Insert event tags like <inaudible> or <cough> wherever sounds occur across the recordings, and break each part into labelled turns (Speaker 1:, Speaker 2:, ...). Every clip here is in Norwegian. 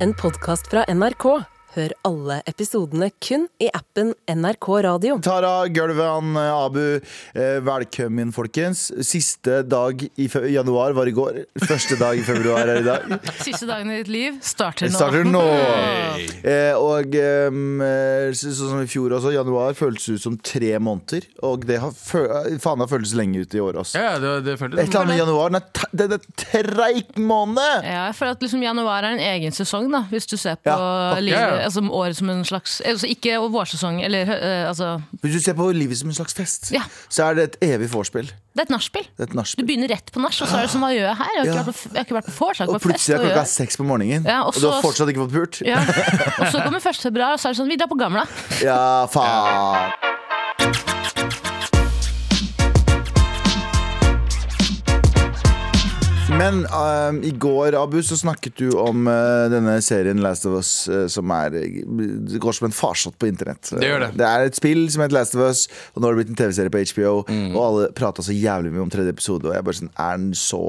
Speaker 1: en podkast fra NRK. Hør alle episodene kun i appen NRK Radio.
Speaker 2: Tara, Gulvan, Abu, eh, velkommen, folkens. Siste dag i fe- januar var i går. Første dag i februar er i
Speaker 3: <laughs>
Speaker 2: dag.
Speaker 3: Siste dagen i ditt liv starter
Speaker 2: Det
Speaker 3: nå.
Speaker 2: starter nå! Eh, og em, eh, så- sånn som i fjor også, januar føltes ut som tre måneder. Og det har fø eh, faen har føltes lenge ut i år også.
Speaker 4: Ja, ja, det, det føltes
Speaker 2: Et eller annet med januar. Den er, te- den er treig måned!
Speaker 3: <laughs> Ja, jeg føler at liksom januar er en egen sesong, da, hvis du ser på
Speaker 2: Ja,
Speaker 3: livet,
Speaker 4: ja, ja.
Speaker 3: altså året som en slags altså Ikke vårsesong, eller eh, altså
Speaker 2: Hvis du ser på livet som en slags fest,
Speaker 3: Ja.
Speaker 2: så er det et evig vorspiel.
Speaker 3: Det er et nachspiel.
Speaker 2: Det er et
Speaker 3: Du
Speaker 2: nachspiel.
Speaker 3: begynner rett på nach, og så er det sånn Hva gjør jeg her? Jeg har ikke
Speaker 2: Ja.
Speaker 3: vært på, jeg har ikke vært på vors, jeg
Speaker 2: Og
Speaker 3: har ikke vært på fest.
Speaker 2: plutselig er
Speaker 3: hva gjør
Speaker 2: klokka
Speaker 3: jeg?
Speaker 2: seks på morgenen,
Speaker 3: Ja, og
Speaker 2: og du har
Speaker 3: så-
Speaker 2: fortsatt ikke fått pult.
Speaker 3: Ja. Og så kommer 1. februar, og så er det sånn Vi drar på Gamla.
Speaker 2: Ja, faen. Men ehm, i går, Abu, så snakket du om eh, denne serien Last of Us, eh, som er, det går som en farsott på internett.
Speaker 4: Det gjør det.
Speaker 2: Det er et spill som heter Last of Us, og nå har det blitt en TV-serie på HBO.
Speaker 4: Mm.
Speaker 2: Og alle prata så jævlig mye om tredje episode, og jeg bare sånn Er den så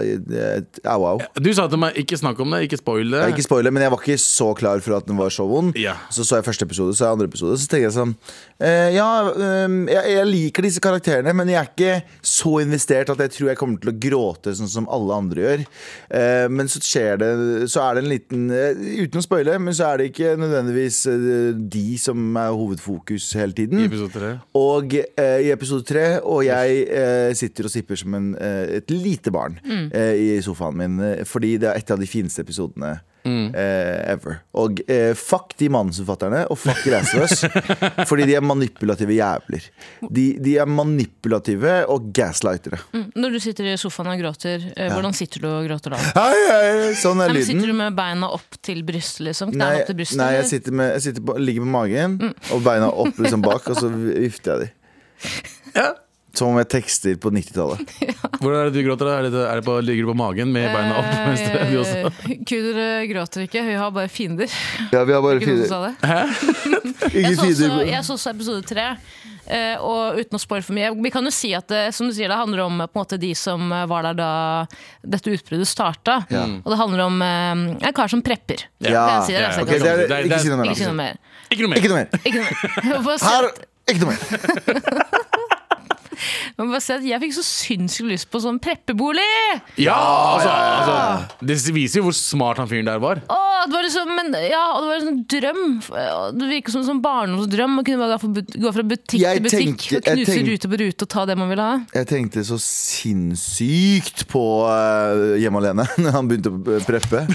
Speaker 2: eh, Au, au.
Speaker 4: Du sa til meg 'ikke snakk om det, ikke spoil det'.
Speaker 2: Jeg vil ikke spoile, men jeg var ikke så klar for at den var så vond.
Speaker 4: Ja.
Speaker 2: Så så jeg første episode, så jeg andre episode. Så tenker jeg sånn eh, Ja, ehm, jeg, jeg liker disse karakterene, men jeg er ikke så investert at jeg tror jeg kommer til å gråte sånn som alle andre gjør. Eh, men så skjer det Så er det en liten eh, Uten å spoile, men så er det ikke nødvendigvis eh, de som er hovedfokus hele tiden.
Speaker 4: I episode tre.
Speaker 2: Og eh, i episode tre, og jeg eh, sitter og sipper som en, eh, et lite barn
Speaker 3: Mm.
Speaker 2: eh, i sofaen min, eh, fordi det er et av de fineste episodene eh, ever. Og eh, fuck de manusforfatterne, og fuck de Last of Us, fordi de er manipulative jævler. De, de er manipulative og gaslightere.
Speaker 3: Mm, Når du sitter i sofaen og gråter, eh, hvordan sitter du og gråter da?
Speaker 2: Hei, hei, sånn
Speaker 3: Nei,
Speaker 2: er
Speaker 3: men
Speaker 2: lyden.
Speaker 3: Sitter du med beina opp til brystet, liksom? Knærne
Speaker 2: Nei,
Speaker 3: opp til brystet?
Speaker 2: nei jeg,
Speaker 3: eller? Mm.
Speaker 2: sitter med, jeg sitter på, ligger på magen og beina opp liksom bak, og så vifter jeg de.
Speaker 4: Ja.
Speaker 2: Som om jeg tekster på 90-tallet.
Speaker 4: Hvordan er det du gråter? da? Er det, er det på, ligger du på magen med beina opp? Mens det, du også?
Speaker 3: Eh, Kurder eh, gråter ikke, vi har bare fiender.
Speaker 2: Ja, vi har bare
Speaker 3: Ikke sånn. noen som
Speaker 2: fire,
Speaker 3: sa det?
Speaker 2: ikke
Speaker 3: Jeg så, også,
Speaker 2: fire-
Speaker 3: jeg så også episode tre. eh, Og uten å spoile for mye Vi kan jo si at det, som du sier, det handler om eh, på en måte, de som eh, var der da dette utbruddet starta. Og det handler om eh, en kar som prepper.
Speaker 2: Ja.
Speaker 3: Det jeg sier,
Speaker 4: Ja,
Speaker 3: altså,
Speaker 4: ok,
Speaker 3: jeg
Speaker 2: det er,
Speaker 4: Det er-
Speaker 2: ikke si noe
Speaker 3: kan-
Speaker 2: mer.
Speaker 3: Ikke si noe mer.
Speaker 4: Ikke noe mer.
Speaker 2: Ikke noe mer.
Speaker 3: Ikke noe mer. Jeg må bare si
Speaker 2: Her,
Speaker 3: at-
Speaker 2: ikke noe mer.
Speaker 3: jeg må bare si at Jeg fikk så sinnssykt lyst på sånn preppebolig!
Speaker 4: Ja, altså, altså Det viser jo hvor smart han fyren der var.
Speaker 3: Åh, det var liksom, men, ja, og det var en sånn drøm. Og Det virket som en sånn barndomsdrøm å kunne bare gå fra but- gå fra butikk
Speaker 2: Jeg
Speaker 3: til butikk
Speaker 2: tenkte-
Speaker 3: og knuse
Speaker 2: jeg tenkte-
Speaker 3: rute på rute og ta det man ville ha.
Speaker 2: Jeg tenkte så sinnssykt på eh, Hjemme alene <laughs> når han begynte å preppe.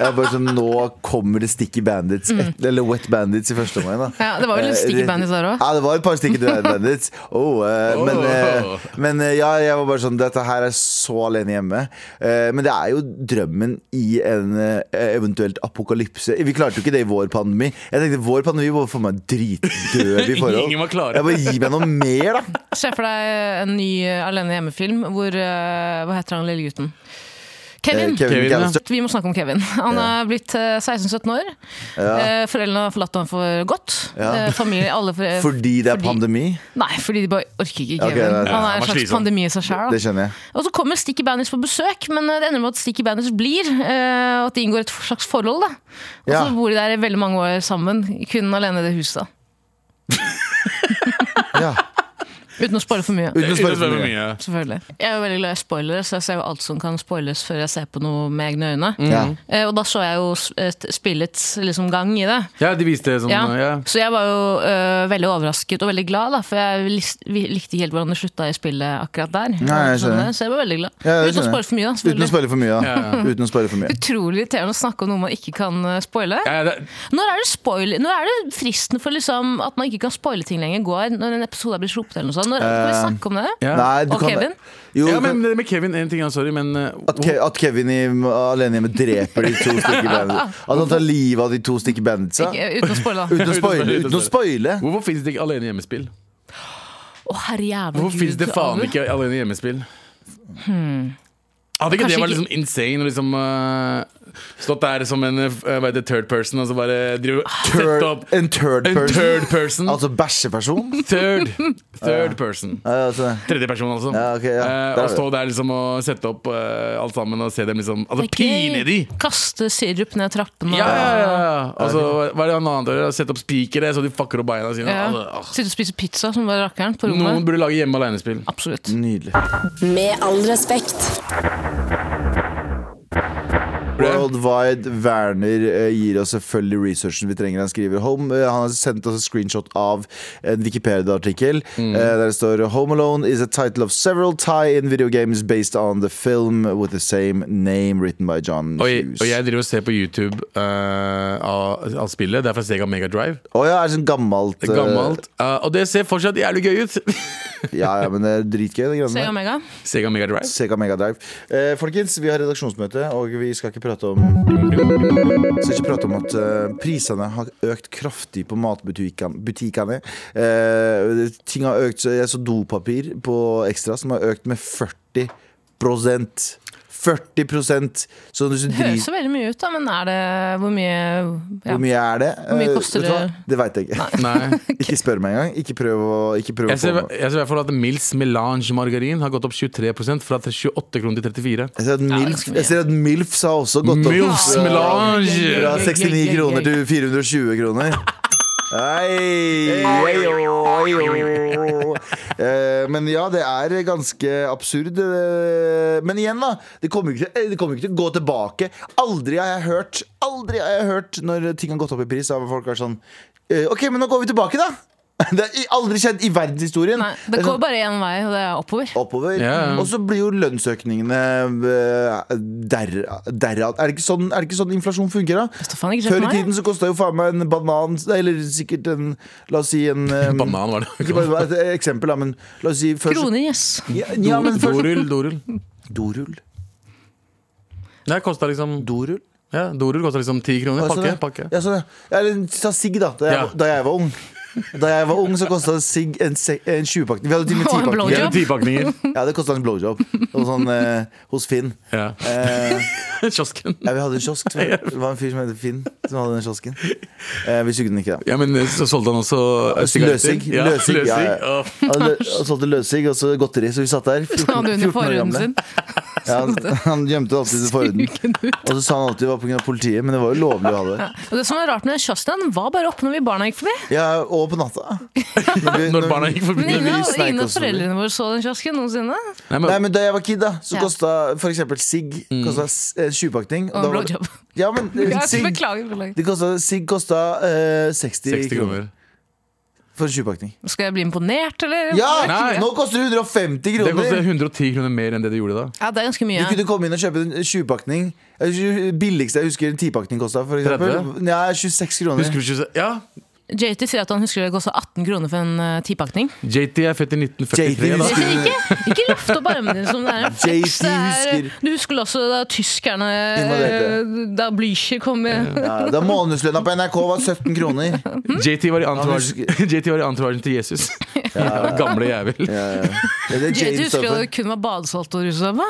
Speaker 2: Jeg bare sånn, Nå kommer det Sticky Bandits, et, eller Wet Bandits i første omgang. da.
Speaker 3: Mm. Ja, det var vel litt
Speaker 2: Eh,
Speaker 3: Sticky Bandits der også.
Speaker 2: Ja, det var et par Sticky
Speaker 3: <laughs>
Speaker 2: Bandits. Oh, eh,
Speaker 4: Oh.
Speaker 2: Men, eh, men eh, ja, jeg var bare sånn Dette her er så alene hjemme. Eh, men det er jo drømmen i en eh, eventuelt apokalypse. Vi klarte jo ikke det i vår pandemi. Jeg tenkte Vår pandemi var for meg dritdød i
Speaker 4: <laughs>
Speaker 2: forhold.
Speaker 4: Ingen var klare.
Speaker 2: Jeg bare Gi meg noe mer, da.
Speaker 3: Se for deg en ny eh, Alene hjemme-film hvor eh, Hva heter han lille gutten?
Speaker 2: Eh,
Speaker 3: Kevin!
Speaker 2: Kevin
Speaker 4: Kevin, ja.
Speaker 2: McAllister.
Speaker 3: Vi må snakke om Kevin. Han er blitt eh, 16-17 år. Eh, Foreldrene har forlatt ham for godt.
Speaker 2: Ja.
Speaker 3: Eh, Familie, alle for,
Speaker 2: Fordi det er
Speaker 3: Fordi-
Speaker 2: pandemi?
Speaker 3: Nei, fordi de bare orker ikke
Speaker 2: Ok,
Speaker 3: Kevin.
Speaker 2: det er-
Speaker 3: han er
Speaker 4: han var
Speaker 3: en slags
Speaker 4: slitsom.
Speaker 3: pandemi i seg sjøl.
Speaker 2: Det skjønner
Speaker 3: <laughs>
Speaker 2: jeg.
Speaker 3: Og så kommer Sticky Bandits på besøk, men eh, det ender med at Sticky Bandits blir. eh, Og at de inngår et slags forhold. da Og så
Speaker 2: Ja.
Speaker 3: bor de der i veldig mange år sammen, kun alene i det huset. da.
Speaker 2: Ja.
Speaker 3: Uten å spoile for mye.
Speaker 2: Uten å spørre for mye.
Speaker 4: mye.
Speaker 3: Selvfølgelig. Jeg er jo veldig glad i spoilere, så jeg ser jo alt som kan spoiles før jeg ser på noe med egne øyne.
Speaker 2: Ja.
Speaker 3: Eh, Og da så jeg jo eh, spillets liksom, gang i det.
Speaker 4: Ja, de viste det sånn.
Speaker 3: Ja.
Speaker 4: Ja. Ja.
Speaker 3: Så jeg var jo eh, veldig overrasket og veldig glad, da, for jeg lis- vi likte ikke helt hvordan det slutta i spillet akkurat der.
Speaker 2: Nei, jeg
Speaker 3: Sånn,
Speaker 2: skjønner.
Speaker 3: så jeg var veldig glad.
Speaker 2: Ja, det
Speaker 3: Uten å
Speaker 2: skjønner jeg.
Speaker 3: spoile for mye, da.
Speaker 2: Uten å
Speaker 3: selvfølgelig.
Speaker 2: spørre for mye, da.
Speaker 4: Ja.
Speaker 2: Uten å spørre for mye.
Speaker 3: Utrolig irriterende å snakke om noe man ikke kan eh, spoile.
Speaker 4: Ja, det,
Speaker 3: Når er det, spoil når er det fristen for liksom, at man ikke kan spoile ting lenger, går? Når en episode er blitt sluppet eller noe sånt? Når kan vi snakke om det?
Speaker 4: ja.
Speaker 2: Nei, du
Speaker 3: Og
Speaker 2: kan
Speaker 3: Kevin?
Speaker 2: Jo,
Speaker 4: ja,
Speaker 2: du
Speaker 4: men
Speaker 2: kan-
Speaker 4: det med Kevin, en ting, ja, sorry, men eh,
Speaker 2: at, Ke at Kevin i Alene hjemme dreper de to sticky bandits. At han tar livet av de to sticky banditsa.
Speaker 3: Ikke, eh, uten å spoile, da.
Speaker 2: Uten å spoile.
Speaker 4: Uten å spoile,
Speaker 2: Uten å spoile.
Speaker 4: Hvorfor fins det ikke alene hjemmespill?
Speaker 3: Å, herre jævla
Speaker 4: Hvorfor fins det faen
Speaker 3: Abu.
Speaker 4: ikke alene hjemmespill? Hadde
Speaker 3: Kanskje
Speaker 4: ikke det vært
Speaker 3: ikke-
Speaker 4: liksom insane å liksom, eh, Stått der som en eh, hva heter det, third person og så bare driver
Speaker 2: Third-
Speaker 4: Sett opp
Speaker 2: en third
Speaker 4: en
Speaker 2: person.
Speaker 4: third person.
Speaker 2: Altså bæsjeperson?
Speaker 4: Third, third person.
Speaker 2: Ja, altså,
Speaker 4: Tredje person, altså.
Speaker 2: Ja, ok, ja.
Speaker 4: Eh,
Speaker 2: Der er
Speaker 4: og
Speaker 2: det.
Speaker 4: stå der liksom og sette opp eh, alt sammen og se dem liksom Altså
Speaker 3: Ikke
Speaker 4: pine de!
Speaker 3: Kaste sirup ned trappene.
Speaker 4: Ja, ja, ja, ja. Altså, hva er det han annet gjør? Sette opp spikere så de fucker opp beina sine.
Speaker 3: Ja.
Speaker 2: ah.
Speaker 4: Altså,
Speaker 3: Sitte og spise pizza som bare rakkeren på
Speaker 4: åh.
Speaker 3: rommet.
Speaker 4: Noen burde lage hjemme aleine-spill.
Speaker 3: Absolutt.
Speaker 2: nydelig.
Speaker 1: Med all respekt.
Speaker 2: World Wide Werner eh, gir oss selvfølgelig researchen vi trenger. Han skriver Home, eh, Han har sendt oss et screenshot av en Wikipedia-artikkel eh, der det står Home Alone is a title of several tie-in video games based on the film with the same name written by John
Speaker 4: Og, jeg-
Speaker 2: Hughes.
Speaker 4: og jeg driver og ser på YouTube eh, av, av spillet. Det er fra Sega Mega Drive.
Speaker 2: Å ja, er det sånn gammelt. eh,
Speaker 4: Gammelt. Eh, og det ser fortsatt jævlig gøy ut. <laughs>
Speaker 2: ja, ja, men det er dritgøy,
Speaker 3: <laughs>
Speaker 2: det
Speaker 3: Sega
Speaker 2: greiene der.
Speaker 3: Mega.
Speaker 4: Sega Mega Drive.
Speaker 2: Sega Mega Drive. Eh, folkens, vi har redaksjonsmøte, og vi skal ikke prate om Så ikke prate om at eh, prisene har økt kraftig på matbutikkene. butikkene. Eh, ting har økt, så jeg så dopapir på Ekstra som har økt med 40 40 Så hvis du
Speaker 3: Det høres
Speaker 2: driter
Speaker 3: jo veldig mye ut, da, men er det hvor mye ja.
Speaker 2: Hvor mye er det?
Speaker 3: Hvor mye
Speaker 2: Eh,
Speaker 3: koster
Speaker 2: vet du hva?
Speaker 3: det?
Speaker 2: Det veit jeg ikke.
Speaker 4: <laughs> Nei.
Speaker 2: Ikke spør meg engang. Ikke prøv å ikke prøv å
Speaker 4: Jeg ser,
Speaker 2: få meg.
Speaker 4: jeg ser i hvert fall at Mills Melange margarin har gått opp 23 fra 28 kroner til 34.
Speaker 2: Jeg ser at
Speaker 3: det er
Speaker 2: Milf,
Speaker 3: ganske mye.
Speaker 2: jeg ser at Milfs har også gått opp.
Speaker 4: Mills
Speaker 2: fra-
Speaker 4: Melange!
Speaker 2: Fra 69 kroner til 420 kroner. Hei! hei, å, hei, å. Eh, Men ja, det er ganske absurd. eh, Men igjen, da. Det kommer jo ikke, til- det kommer jo ikke til å gå tilbake. Aldri har jeg hørt Aldri har jeg hørt når ting har gått opp i pris, har folk vært sånn eh, OK, men nå går vi tilbake, da. <laughs> Det er i- aldri skjedd i verdenshistorien.
Speaker 3: Nei,
Speaker 2: Det
Speaker 3: det
Speaker 2: er
Speaker 3: går
Speaker 2: sånn
Speaker 3: bare én vei, og det er oppover.
Speaker 2: Oppover.
Speaker 4: Ja.
Speaker 2: Og så blir jo lønnsøkningene eh, der, derav. Er, det ikke sånn, er det ikke sånn inflasjon fungerer, da?
Speaker 3: Stefan, ikke
Speaker 2: Før
Speaker 3: kjøp
Speaker 2: i
Speaker 3: meg.
Speaker 2: tiden så kosta jo faen meg en banan nei, Eller sikkert en La oss si en eh,
Speaker 4: <laughs> Banan var
Speaker 2: Ikke
Speaker 4: det.
Speaker 2: bare bare et eksempel, da, men la oss si før, så-
Speaker 3: Kroner, yes.
Speaker 2: <laughs> Ja, ja, men før,
Speaker 4: Dorull, dorull.
Speaker 2: Dorull.
Speaker 4: Det kosta liksom
Speaker 2: Dorull?
Speaker 4: Ja, Dorull kosta liksom 10 kroner.
Speaker 2: Ja, sånn,
Speaker 4: Pakke.
Speaker 2: ja.
Speaker 4: pakke
Speaker 2: Ja, sånn, ja. Eller ta sigg, da. Da jeg,
Speaker 4: Ja.
Speaker 2: da jeg var ung. Da jeg var ung, så kosta sigg en, se- en 20-pakning. Vi hadde til og med
Speaker 3: Og en
Speaker 2: 10-pakning.
Speaker 3: blowjob.
Speaker 4: Eller ti pakninger. <laughs>
Speaker 2: Ja, det kosta en blowjob. Det var Sånn, eh, hos Finn.
Speaker 4: Ja.
Speaker 2: Eh,
Speaker 4: Kiosken.
Speaker 2: ja, vi hadde en kiosk. tror jeg. Det var en fyr som het Finn, som hadde den kiosken. Eh, vi sugde den ikke, da.
Speaker 4: Ja, men så solgte han også eh, sigaretter.
Speaker 2: Løsig.
Speaker 4: Ja,
Speaker 2: Løsig, ja, ja.
Speaker 4: Åh.
Speaker 2: Han hadde- han solgte løssigg og så godteri, så vi satt der.
Speaker 3: <laughs> Så han hadde
Speaker 2: 14,
Speaker 3: under
Speaker 2: 14 år
Speaker 3: forhuden
Speaker 2: gamle.
Speaker 3: sin. <laughs>
Speaker 2: Ja, han, han gjemte det alltid til forhuden. Og så sa han alltid det var pga. politiet, men det var jo lovlig å ha det.
Speaker 3: Og det som var rart med den kiosken, den var bare oppe når vi barna gikk forbi.
Speaker 2: Ja, og på natta. Når, vi-
Speaker 4: <laughs> Når barna gikk forbi.
Speaker 3: Men ingen av,
Speaker 2: sneik
Speaker 3: ingen av
Speaker 2: oss forbi.
Speaker 3: foreldrene våre så den kiosken noensinne.
Speaker 4: Nei, men,
Speaker 2: Nei, men Da jeg var kid, da så
Speaker 3: Ja.
Speaker 2: kosta for eksempel sigg
Speaker 4: Mm.
Speaker 2: kosta s- en 20-pakning.
Speaker 3: Og
Speaker 2: da
Speaker 3: en
Speaker 2: var det-
Speaker 3: blowjob.
Speaker 2: <laughs> Ja, men eh,
Speaker 3: Ja,
Speaker 2: sigg
Speaker 3: Beklager. beklager.
Speaker 2: det kosta- Sigg kosta eh, 60,
Speaker 4: 60
Speaker 2: kroner
Speaker 4: kroner.
Speaker 2: for en 20-pakning.
Speaker 3: Skal jeg bli imponert, eller?
Speaker 2: Ja!
Speaker 4: Nei.
Speaker 2: Nå koster det 150
Speaker 4: Det koster
Speaker 2: kroner!
Speaker 4: 110 kroner mer enn det det gjorde da.
Speaker 3: Ja, det er ganske
Speaker 2: Du
Speaker 3: mye.
Speaker 2: kunne komme inn og kjøpe en 20-pakning. Eh, tjue- Billigste jeg husker en 10-pakning kosta, for eksempel.
Speaker 4: 30?
Speaker 2: Ja, 26 kroner.
Speaker 4: Husker du ikke så- Ja,
Speaker 3: JT sier at han husker det kosta 18 kroner for en eh, tipakning.
Speaker 4: JT er født i
Speaker 2: JT
Speaker 4: 1943 da.
Speaker 2: husker-
Speaker 3: Ikke, ikke, ikke løft opp armene dine som det er en flex.
Speaker 2: JT
Speaker 3: Det er,
Speaker 2: husker-
Speaker 3: du husker vel også da tyskerne eh,
Speaker 2: Invaderte.
Speaker 3: Da Blücher kom med
Speaker 2: Ja, da månedslønna på NRK var 17 kroner.
Speaker 4: <laughs> JT var i entourage-
Speaker 2: Han
Speaker 4: <laughs> JT var i entouragen til Jesus. Gamle jævel.
Speaker 2: Ja, ja. Det
Speaker 3: <laughs>
Speaker 2: er
Speaker 3: JT
Speaker 2: James
Speaker 3: husker jo
Speaker 2: Stafford.
Speaker 3: det kun var badesalt og russava.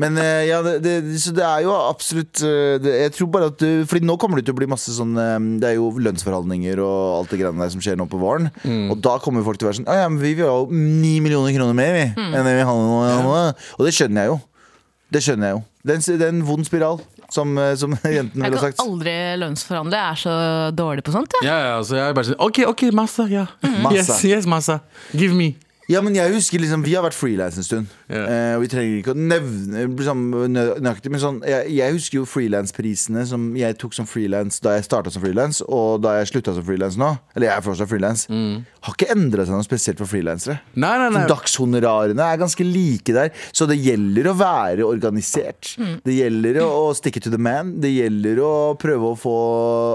Speaker 2: Men eh, ja, det, det, så det er jo absolutt eh, det, Jeg tror bare at du, Fordi nå kommer det til å bli masse sånn eh, Det er jo lønnsforhandlinger og alt det greiene der som skjer nå på våren. Og da kommer folk til å være sånn «Å Ja, men vi vil ha jo 9 millioner kroner mer, vi.
Speaker 3: Mm.
Speaker 2: Enn det vi handler nå, nå. Og det skjønner jeg jo. Det skjønner jeg jo. Det er en, det er en vond spiral, som, eh, som <laughs> jentene
Speaker 3: Jeg
Speaker 2: ville ha
Speaker 3: kan
Speaker 2: sagt.
Speaker 3: aldri lønnsforhandle, jeg er så dårlig på sånt. Ja.
Speaker 4: Ja, ja, så jeg er bare sånn OK, OK, massa, ja.
Speaker 2: Massa.
Speaker 4: Yes, yes, massa. Give me.
Speaker 2: Ja, men jeg husker liksom, Vi har vært frilans en stund.
Speaker 4: Ja.
Speaker 2: Eh, og vi trenger ikke å nevne liksom, nø- nøyaktig, men sånn, jeg, jeg husker jo frilansprisene som jeg tok som frilans da jeg starta som frilans, og da jeg slutta som frilans nå. Eller jeg er fortsatt frilans. Har ikke endra seg noe spesielt for frilansere.
Speaker 4: Nei, nei, nei.
Speaker 2: Dagshonorarene er ganske like der, så det gjelder å være organisert.
Speaker 3: Mm.
Speaker 2: Det gjelder å, å stikke to the man. Det gjelder å prøve å få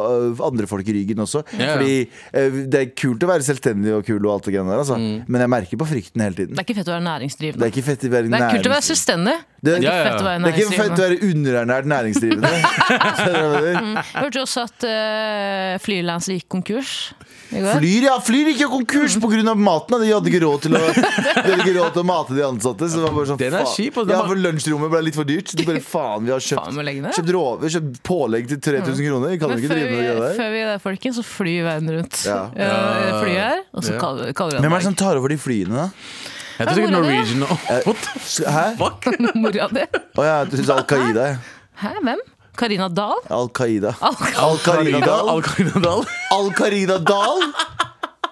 Speaker 2: øh, andre folk i ryggen også.
Speaker 4: Ja, ja.
Speaker 2: Fordi øh, det er kult å være selvstendig og kul, og alt det greiene der, altså. men jeg merker på frykten hele tiden.
Speaker 3: Mm. Det er ikke fett å være
Speaker 2: Det
Speaker 3: næringsdrivende.
Speaker 2: er ikke fett i verden.
Speaker 3: Det er kult å være
Speaker 2: nærmest.
Speaker 3: selvstendig.
Speaker 2: Det,
Speaker 4: Ja, ja.
Speaker 3: Fett å være
Speaker 2: det er ikke fett å
Speaker 3: næringsdrivende.
Speaker 2: være underernært
Speaker 3: <laughs>
Speaker 2: næringsdrivende. Skjønner du hva jeg mener?
Speaker 3: Jeg hørte jo også at uh, Flylands gikk konkurs i går.
Speaker 2: Flyr ja, flyr gikk jo konkurs
Speaker 4: Mm.
Speaker 2: pga. maten. da. De hadde ikke råd til
Speaker 4: <laughs>
Speaker 2: å, de hadde ikke råd til å mate de ansatte. Så det var bare sånn,
Speaker 4: Den er
Speaker 2: faen.
Speaker 4: kjip, og den
Speaker 2: ja,
Speaker 4: var-
Speaker 2: for Lunsjrommet ble litt for dyrt. Så de bare faen, vi har
Speaker 3: Faen,
Speaker 2: kjøpt,
Speaker 3: må legge ned.
Speaker 2: kjøpt råvarer, kjøpt pålegg til
Speaker 4: Mm.
Speaker 2: 3000 kroner. Vi kan
Speaker 3: Men
Speaker 2: jo ikke
Speaker 3: før
Speaker 2: drive med
Speaker 3: vi,
Speaker 2: det der.
Speaker 3: før vi er der, folkens, så flyr verden rundt.
Speaker 2: Ja.
Speaker 3: Eh, flyet her, og så
Speaker 4: Ja.
Speaker 3: kaller, kaller vi
Speaker 2: Hvem
Speaker 3: den
Speaker 2: er det som tar over de flyene, da?
Speaker 4: Jeg tror sikkert
Speaker 3: Hvor er det?
Speaker 4: Norwegian og
Speaker 2: Eh,
Speaker 4: What the
Speaker 2: Hæ?
Speaker 4: fuck?
Speaker 3: mora di.
Speaker 2: Å ja, du syns Al Qaida, ja.
Speaker 3: Hæ, hvem? Karina Dahl?
Speaker 2: Al Qaida.
Speaker 3: Al-
Speaker 2: Al Qaida Dahl?
Speaker 4: Al-Karina
Speaker 2: <laughs>
Speaker 4: Dahl?
Speaker 2: Al Karina Dahl?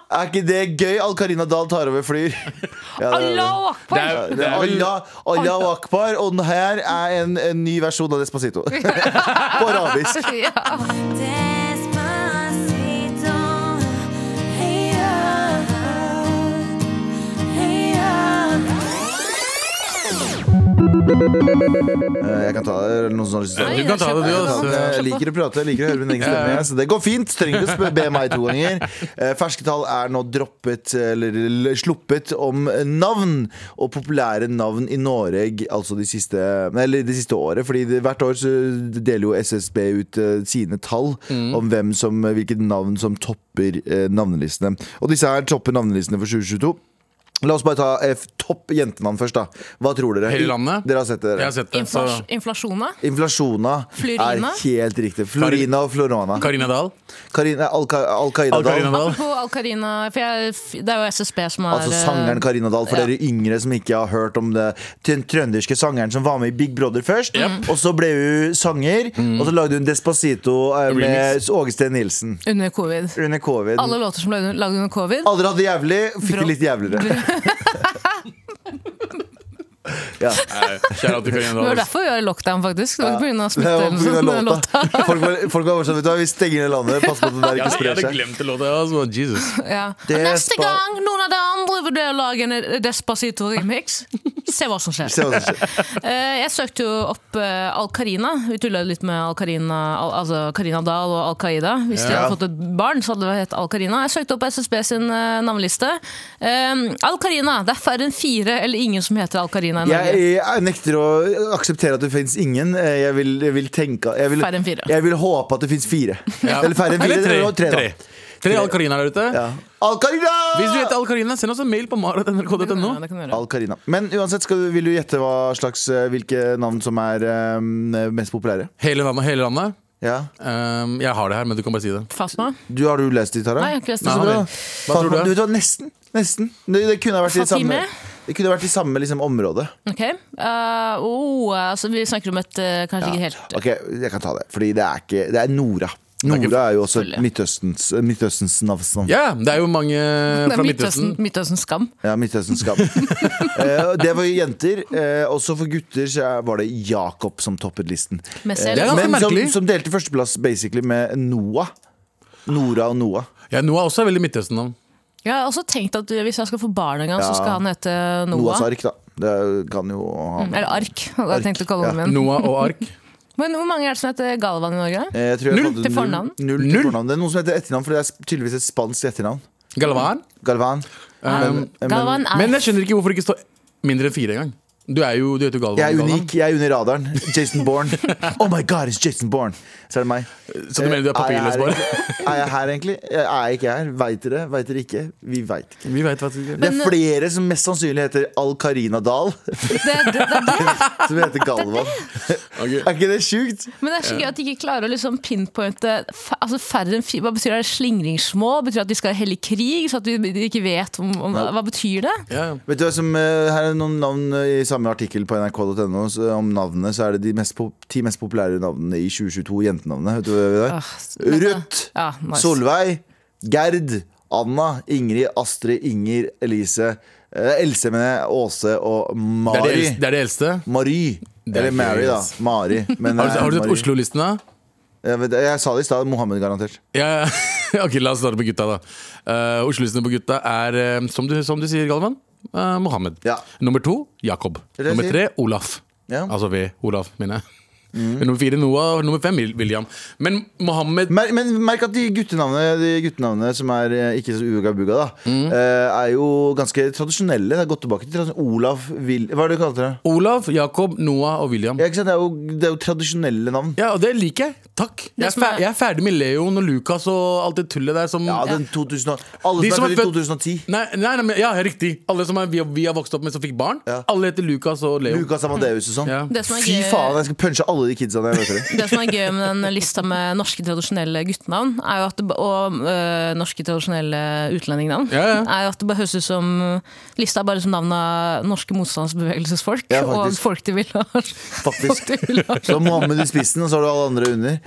Speaker 2: Er ikke det gøy? Al Karina Dahl tar over flyr. Ja, det er det.
Speaker 3: Allahu
Speaker 4: Det
Speaker 3: akbar!
Speaker 4: er,
Speaker 2: Det
Speaker 4: det
Speaker 2: er
Speaker 4: er vel
Speaker 2: Allah, Allah akbar, og den her er en, en ny versjon av
Speaker 4: <laughs>
Speaker 2: Despacito. På arabisk.
Speaker 3: <laughs> Ja.
Speaker 5: Despacito, hey ah, hey
Speaker 2: Eh, Jeg kan ta det, eller noen som har lyst til å ta
Speaker 4: Du
Speaker 2: det.
Speaker 4: kan ta det, du,
Speaker 2: Jeg kan ta
Speaker 4: altså.
Speaker 2: det. Jeg liker å prate, jeg liker å høre min egen stemme. jeg, Så det går fint. Trenger ikke å sp- be meg to ganger. Eh, Ferske tall er nå droppet, eller l- sluppet, om navn. Og populære navn i Norge altså de siste, nei, eller de siste året. Fordi det, hvert år så deler jo SSB ut eh, sine tall om hvem som, hvilket navn som topper eh, navnelistene. Og disse her topper navnelistene for 2022. La oss bare ta eh, f- topp jentenavn først, da. Hva tror dere?
Speaker 4: Hele landet?
Speaker 2: Dere har sett det?
Speaker 4: Jeg
Speaker 2: Dere.
Speaker 4: har sett det. Så
Speaker 2: altså-
Speaker 3: Inflas inflasjona?
Speaker 2: Inflasjona
Speaker 3: Florina?
Speaker 2: er helt riktig. Florina og Florona.
Speaker 4: Karina Dahl.
Speaker 2: Karina, Al, Al Qaida
Speaker 4: Al-Karina
Speaker 2: Dahl.
Speaker 4: Dahl.
Speaker 3: På Al-Karina For jeg, det er eh, jo SSB som har
Speaker 2: Altså sangeren Karina Dahl, for
Speaker 3: Ja.
Speaker 2: dere yngre som ikke har hørt om det. Den trønderske sangeren som var med i Big Brother først. Og så ble hun sanger, og så lagde hun Despacito eh, med
Speaker 4: Mm. Remix.
Speaker 2: Åge Steen Nilsen.
Speaker 3: under covid.
Speaker 2: Under covid.
Speaker 3: Alle låter som ble lagd under covid.
Speaker 2: Alle hadde det jævlig, fikk
Speaker 3: Bra.
Speaker 2: det litt jævligere. <laughs> ja.
Speaker 4: Nei, Kjære til Karina
Speaker 3: Det var
Speaker 4: Dahl.
Speaker 3: derfor vi var i lockdown, faktisk. Det var ikke på grunn av
Speaker 2: Det
Speaker 3: smitte.
Speaker 2: var på grunn av
Speaker 3: eller noe sånt,
Speaker 2: låta.
Speaker 3: den låta.
Speaker 2: Folk var, folk var sånn, vet du hva, vi stenger ned landet, pass på at det der
Speaker 4: Jeg
Speaker 2: ikke
Speaker 4: hadde, jeg
Speaker 2: sprer
Speaker 4: hadde
Speaker 2: seg.
Speaker 4: glemt det låta. jeg, Altså. Jesus.
Speaker 3: Ja.
Speaker 2: <laughs>
Speaker 3: Og
Speaker 2: Det er
Speaker 3: Neste
Speaker 2: spa-
Speaker 3: gang noen av de andre vurderer å lage en Despacito-remix, se hva som skjer.
Speaker 2: Se hva som skjer.
Speaker 3: Eh, Jeg søkte jo opp eh, Al-Karina. Vi tulla litt med Al-Karina Al altså Karina Dahl og Al-Qaida. Hvis de
Speaker 2: Ja.
Speaker 3: hadde fått et barn, så hadde det hett Al-Karina. Jeg søkte opp SSB sin eh, navneliste. Eh, Al-Karina. Det er færre enn fire eller ingen som heter Al-Karina i Norge.
Speaker 2: Jeg, jeg nekter å akseptere at det finnes ingen. Eh, Jeg vil, jeg vil tenke jeg vil,
Speaker 3: Færre enn fire.
Speaker 2: Jeg vil håpe at det finnes fire.
Speaker 4: Ja.
Speaker 2: Eller færre enn fire.
Speaker 4: Eller
Speaker 2: eller
Speaker 4: tre.
Speaker 2: da.
Speaker 4: Tre, tre Al-Karina der ute.
Speaker 2: Ja. Al-Karina!
Speaker 4: Hvis du heter Al-Karina, send oss en mail på
Speaker 3: Det kan du
Speaker 4: marat.nrk.no.
Speaker 3: gjøre, det kan du gjøre.
Speaker 2: Al-Karina. Men uansett, skal du, vil du gjette hva slags, eh, hvilke navn som er eh, mest populære?
Speaker 4: Hele landet, hele landet.
Speaker 2: Ja.
Speaker 4: Um, jeg har det her, men du kan bare si det.
Speaker 3: Fatma?
Speaker 2: Du, har du lest de, Tara?
Speaker 3: Nei, jeg har ikke lest
Speaker 4: Nei,
Speaker 2: Så
Speaker 3: det.
Speaker 4: han
Speaker 2: bra.
Speaker 4: vil. Hva tror du?
Speaker 2: vet hva, nesten. Nesten. Det, det kunne ha vært i samme,
Speaker 3: Fatime?
Speaker 2: det kunne ha vært i samme liksom, område.
Speaker 3: Ok. Eh, oh, altså, vi snakker om et eh, kanskje ikke helt
Speaker 2: Ok, Jeg kan ta det. Fordi det er ikke Det er Nora.
Speaker 4: er ikke-
Speaker 2: Nora er jo også
Speaker 3: Selvfølgelig.
Speaker 2: Midtøstens, Midtøstens navn.
Speaker 4: Ja, det er jo mange
Speaker 3: Det er
Speaker 4: Eh, fra Midtøsten.
Speaker 3: Midtøsten, Midtøsten Skam.
Speaker 2: Ja, Midtøstens
Speaker 4: <laughs>
Speaker 2: skam. Eh, det var jo jenter. Eh, også for gutter så er- var det Jakob som toppet listen.
Speaker 3: Med
Speaker 4: Det er
Speaker 3: selv.
Speaker 4: ganske
Speaker 2: Men som,
Speaker 4: merkelig.
Speaker 2: som delte førsteplass basically med Noah. Nora og Noah.
Speaker 4: Ja, Noah er også veldig Midtøsten-navn.
Speaker 3: Jeg har også tenkt at eh, hvis jeg skal få barn en gang,
Speaker 2: Ja.
Speaker 3: så skal han hete
Speaker 2: Noahs
Speaker 3: Noah.
Speaker 2: ark, da. Det kan jo ha
Speaker 4: Mm.
Speaker 3: Eller Ark, hadde jeg tenkt å kalle
Speaker 2: ja.
Speaker 3: ham. igjen.
Speaker 4: Noah og ark.
Speaker 3: Men hvor mange er det som heter Galvan i Norge?
Speaker 2: Eh, jeg tror jeg
Speaker 4: Null
Speaker 2: fant ut
Speaker 3: til fornavn.
Speaker 2: Null til
Speaker 4: Null?
Speaker 2: fornavn. Det er noen som heter etternavn, for det er tydeligvis et spansk etternavn.
Speaker 4: Galvan.
Speaker 2: Galvan.
Speaker 4: Um,
Speaker 2: Eh, Men-
Speaker 3: Galvan er
Speaker 4: men jeg skjønner ikke hvorfor det ikke står mindre enn fire engang. Du er jo, du heter jo Galvan.
Speaker 2: Jeg er
Speaker 4: Galvan.
Speaker 2: unik. Jeg er under radaren.
Speaker 4: <laughs>
Speaker 2: Jason Bourne. Oh my god, it's Jason Bourne! Så er det meg.
Speaker 4: Så du mener du er papirløs
Speaker 2: Eh, jeg her egentlig? Er jeg
Speaker 4: bare?
Speaker 2: her, egentlig? Jeg er ikke her. Veit dere? Veit dere ikke? Vi veit ikke.
Speaker 4: Vi vet faktisk ikke.
Speaker 2: Det
Speaker 3: eh,
Speaker 2: er flere som mest sannsynlig heter Al-Karina Dahl,
Speaker 3: <laughs>
Speaker 2: <laughs>
Speaker 3: det, det, det,
Speaker 2: som heter Galvan.
Speaker 4: <laughs> Ok.
Speaker 2: Er ikke det sjukt?
Speaker 3: men det er så gøy at de ikke klarer å liksom pinpointe f- altså færre enn fire. Hva betyr det? Er det Slingringsmål? Betyr det at de skal helle krig? Så at de, de ikke vet om, om Hva betyr det?
Speaker 4: Ja. ja.
Speaker 2: Vet du hva som, eh, Her er noen navn eh, i samme artikkel på nrk.no så eh, om navnene. Så er det de mest pop ti mest populære navnene i 2022. Jentenavnene. Vet du hva det er?
Speaker 3: Ah,
Speaker 2: Ruth,
Speaker 3: Ja, nice.
Speaker 2: Solveig, Gerd, Anna, Ingrid, Astrid, Inger, Elise, eh, Else, mener jeg, Åse og
Speaker 4: Det, er det,
Speaker 2: Mari.
Speaker 4: eldste- det er det eldste.
Speaker 2: Mari.
Speaker 4: Det er
Speaker 2: Eller
Speaker 4: ikke
Speaker 2: Mary, da.
Speaker 4: Elise. <laughs>
Speaker 2: Mari. Men,
Speaker 4: Har du, har du
Speaker 2: eh,
Speaker 4: sett
Speaker 2: Mari.
Speaker 4: Oslo-listen, da?
Speaker 2: Jeg, vet, jeg sa det i stad. Mohammed, garantert.
Speaker 4: Ja, <laughs> ja. ok, la oss starte med gutta, da. Eh, Oslo-listen på gutta er, eh, som, du, som du sier, Galvan, eh, Mohammed.
Speaker 2: Ja.
Speaker 4: Nummer to, Jakob.
Speaker 2: er det jeg
Speaker 4: Nummer tre, Olaf.
Speaker 2: Ja. Mm.
Speaker 4: Altså vi. Olaf, mener jeg. Nummer fire Noah, og nummer fem Wil- William. Men Mohammed
Speaker 2: Mer, men merk at de guttenavnene, de guttenavnene som er eh, ikke så uga buga, da,
Speaker 4: Mm.
Speaker 2: eh, er jo ganske tradisjonelle. Det er gått tilbake til tradisjon- Olav Vil... Hva er det du kalte det?
Speaker 4: Olav, Jakob, Noah og William.
Speaker 2: Ja, ikke sant? Det, er jo, det er jo tradisjonelle navn.
Speaker 4: Ja, og det liker jeg. Takk. Jeg er,
Speaker 3: som er-
Speaker 4: fer jeg er ferdig med Leon og Lucas og alt det tullet der som
Speaker 2: Ja, den 2000, og- alle
Speaker 4: De
Speaker 2: som
Speaker 4: som
Speaker 2: er
Speaker 4: er
Speaker 2: født i 2010.
Speaker 4: født- Nei, nei, nei, men, ja, riktig. Alle som er, vi, vi har vokst opp med som fikk barn.
Speaker 2: Ja.
Speaker 4: Alle heter Lucas og Leo.
Speaker 2: Lucas Amadeus og sånn.
Speaker 4: Ja.
Speaker 3: Det som er
Speaker 2: Fy
Speaker 3: gøy-
Speaker 2: faen, jeg skal punche alle de kidsa når jeg
Speaker 4: <laughs>
Speaker 2: møter dem.
Speaker 3: Det som er gøy med den lista med norske tradisjonelle guttenavn er jo at det, ba- og øh, norske tradisjonelle utlendingnavn,
Speaker 4: Ja, ja.
Speaker 3: er jo at det bare høres ut som Lista er bare som navn av norske motstandsbevegelsesfolk.
Speaker 2: Ja,
Speaker 3: og
Speaker 2: faktisk.
Speaker 3: folk de vil ha. <laughs> Folk
Speaker 2: Faktisk.
Speaker 3: de vil ha.
Speaker 2: Så Mohammed i spissen, og så har du alle andre under.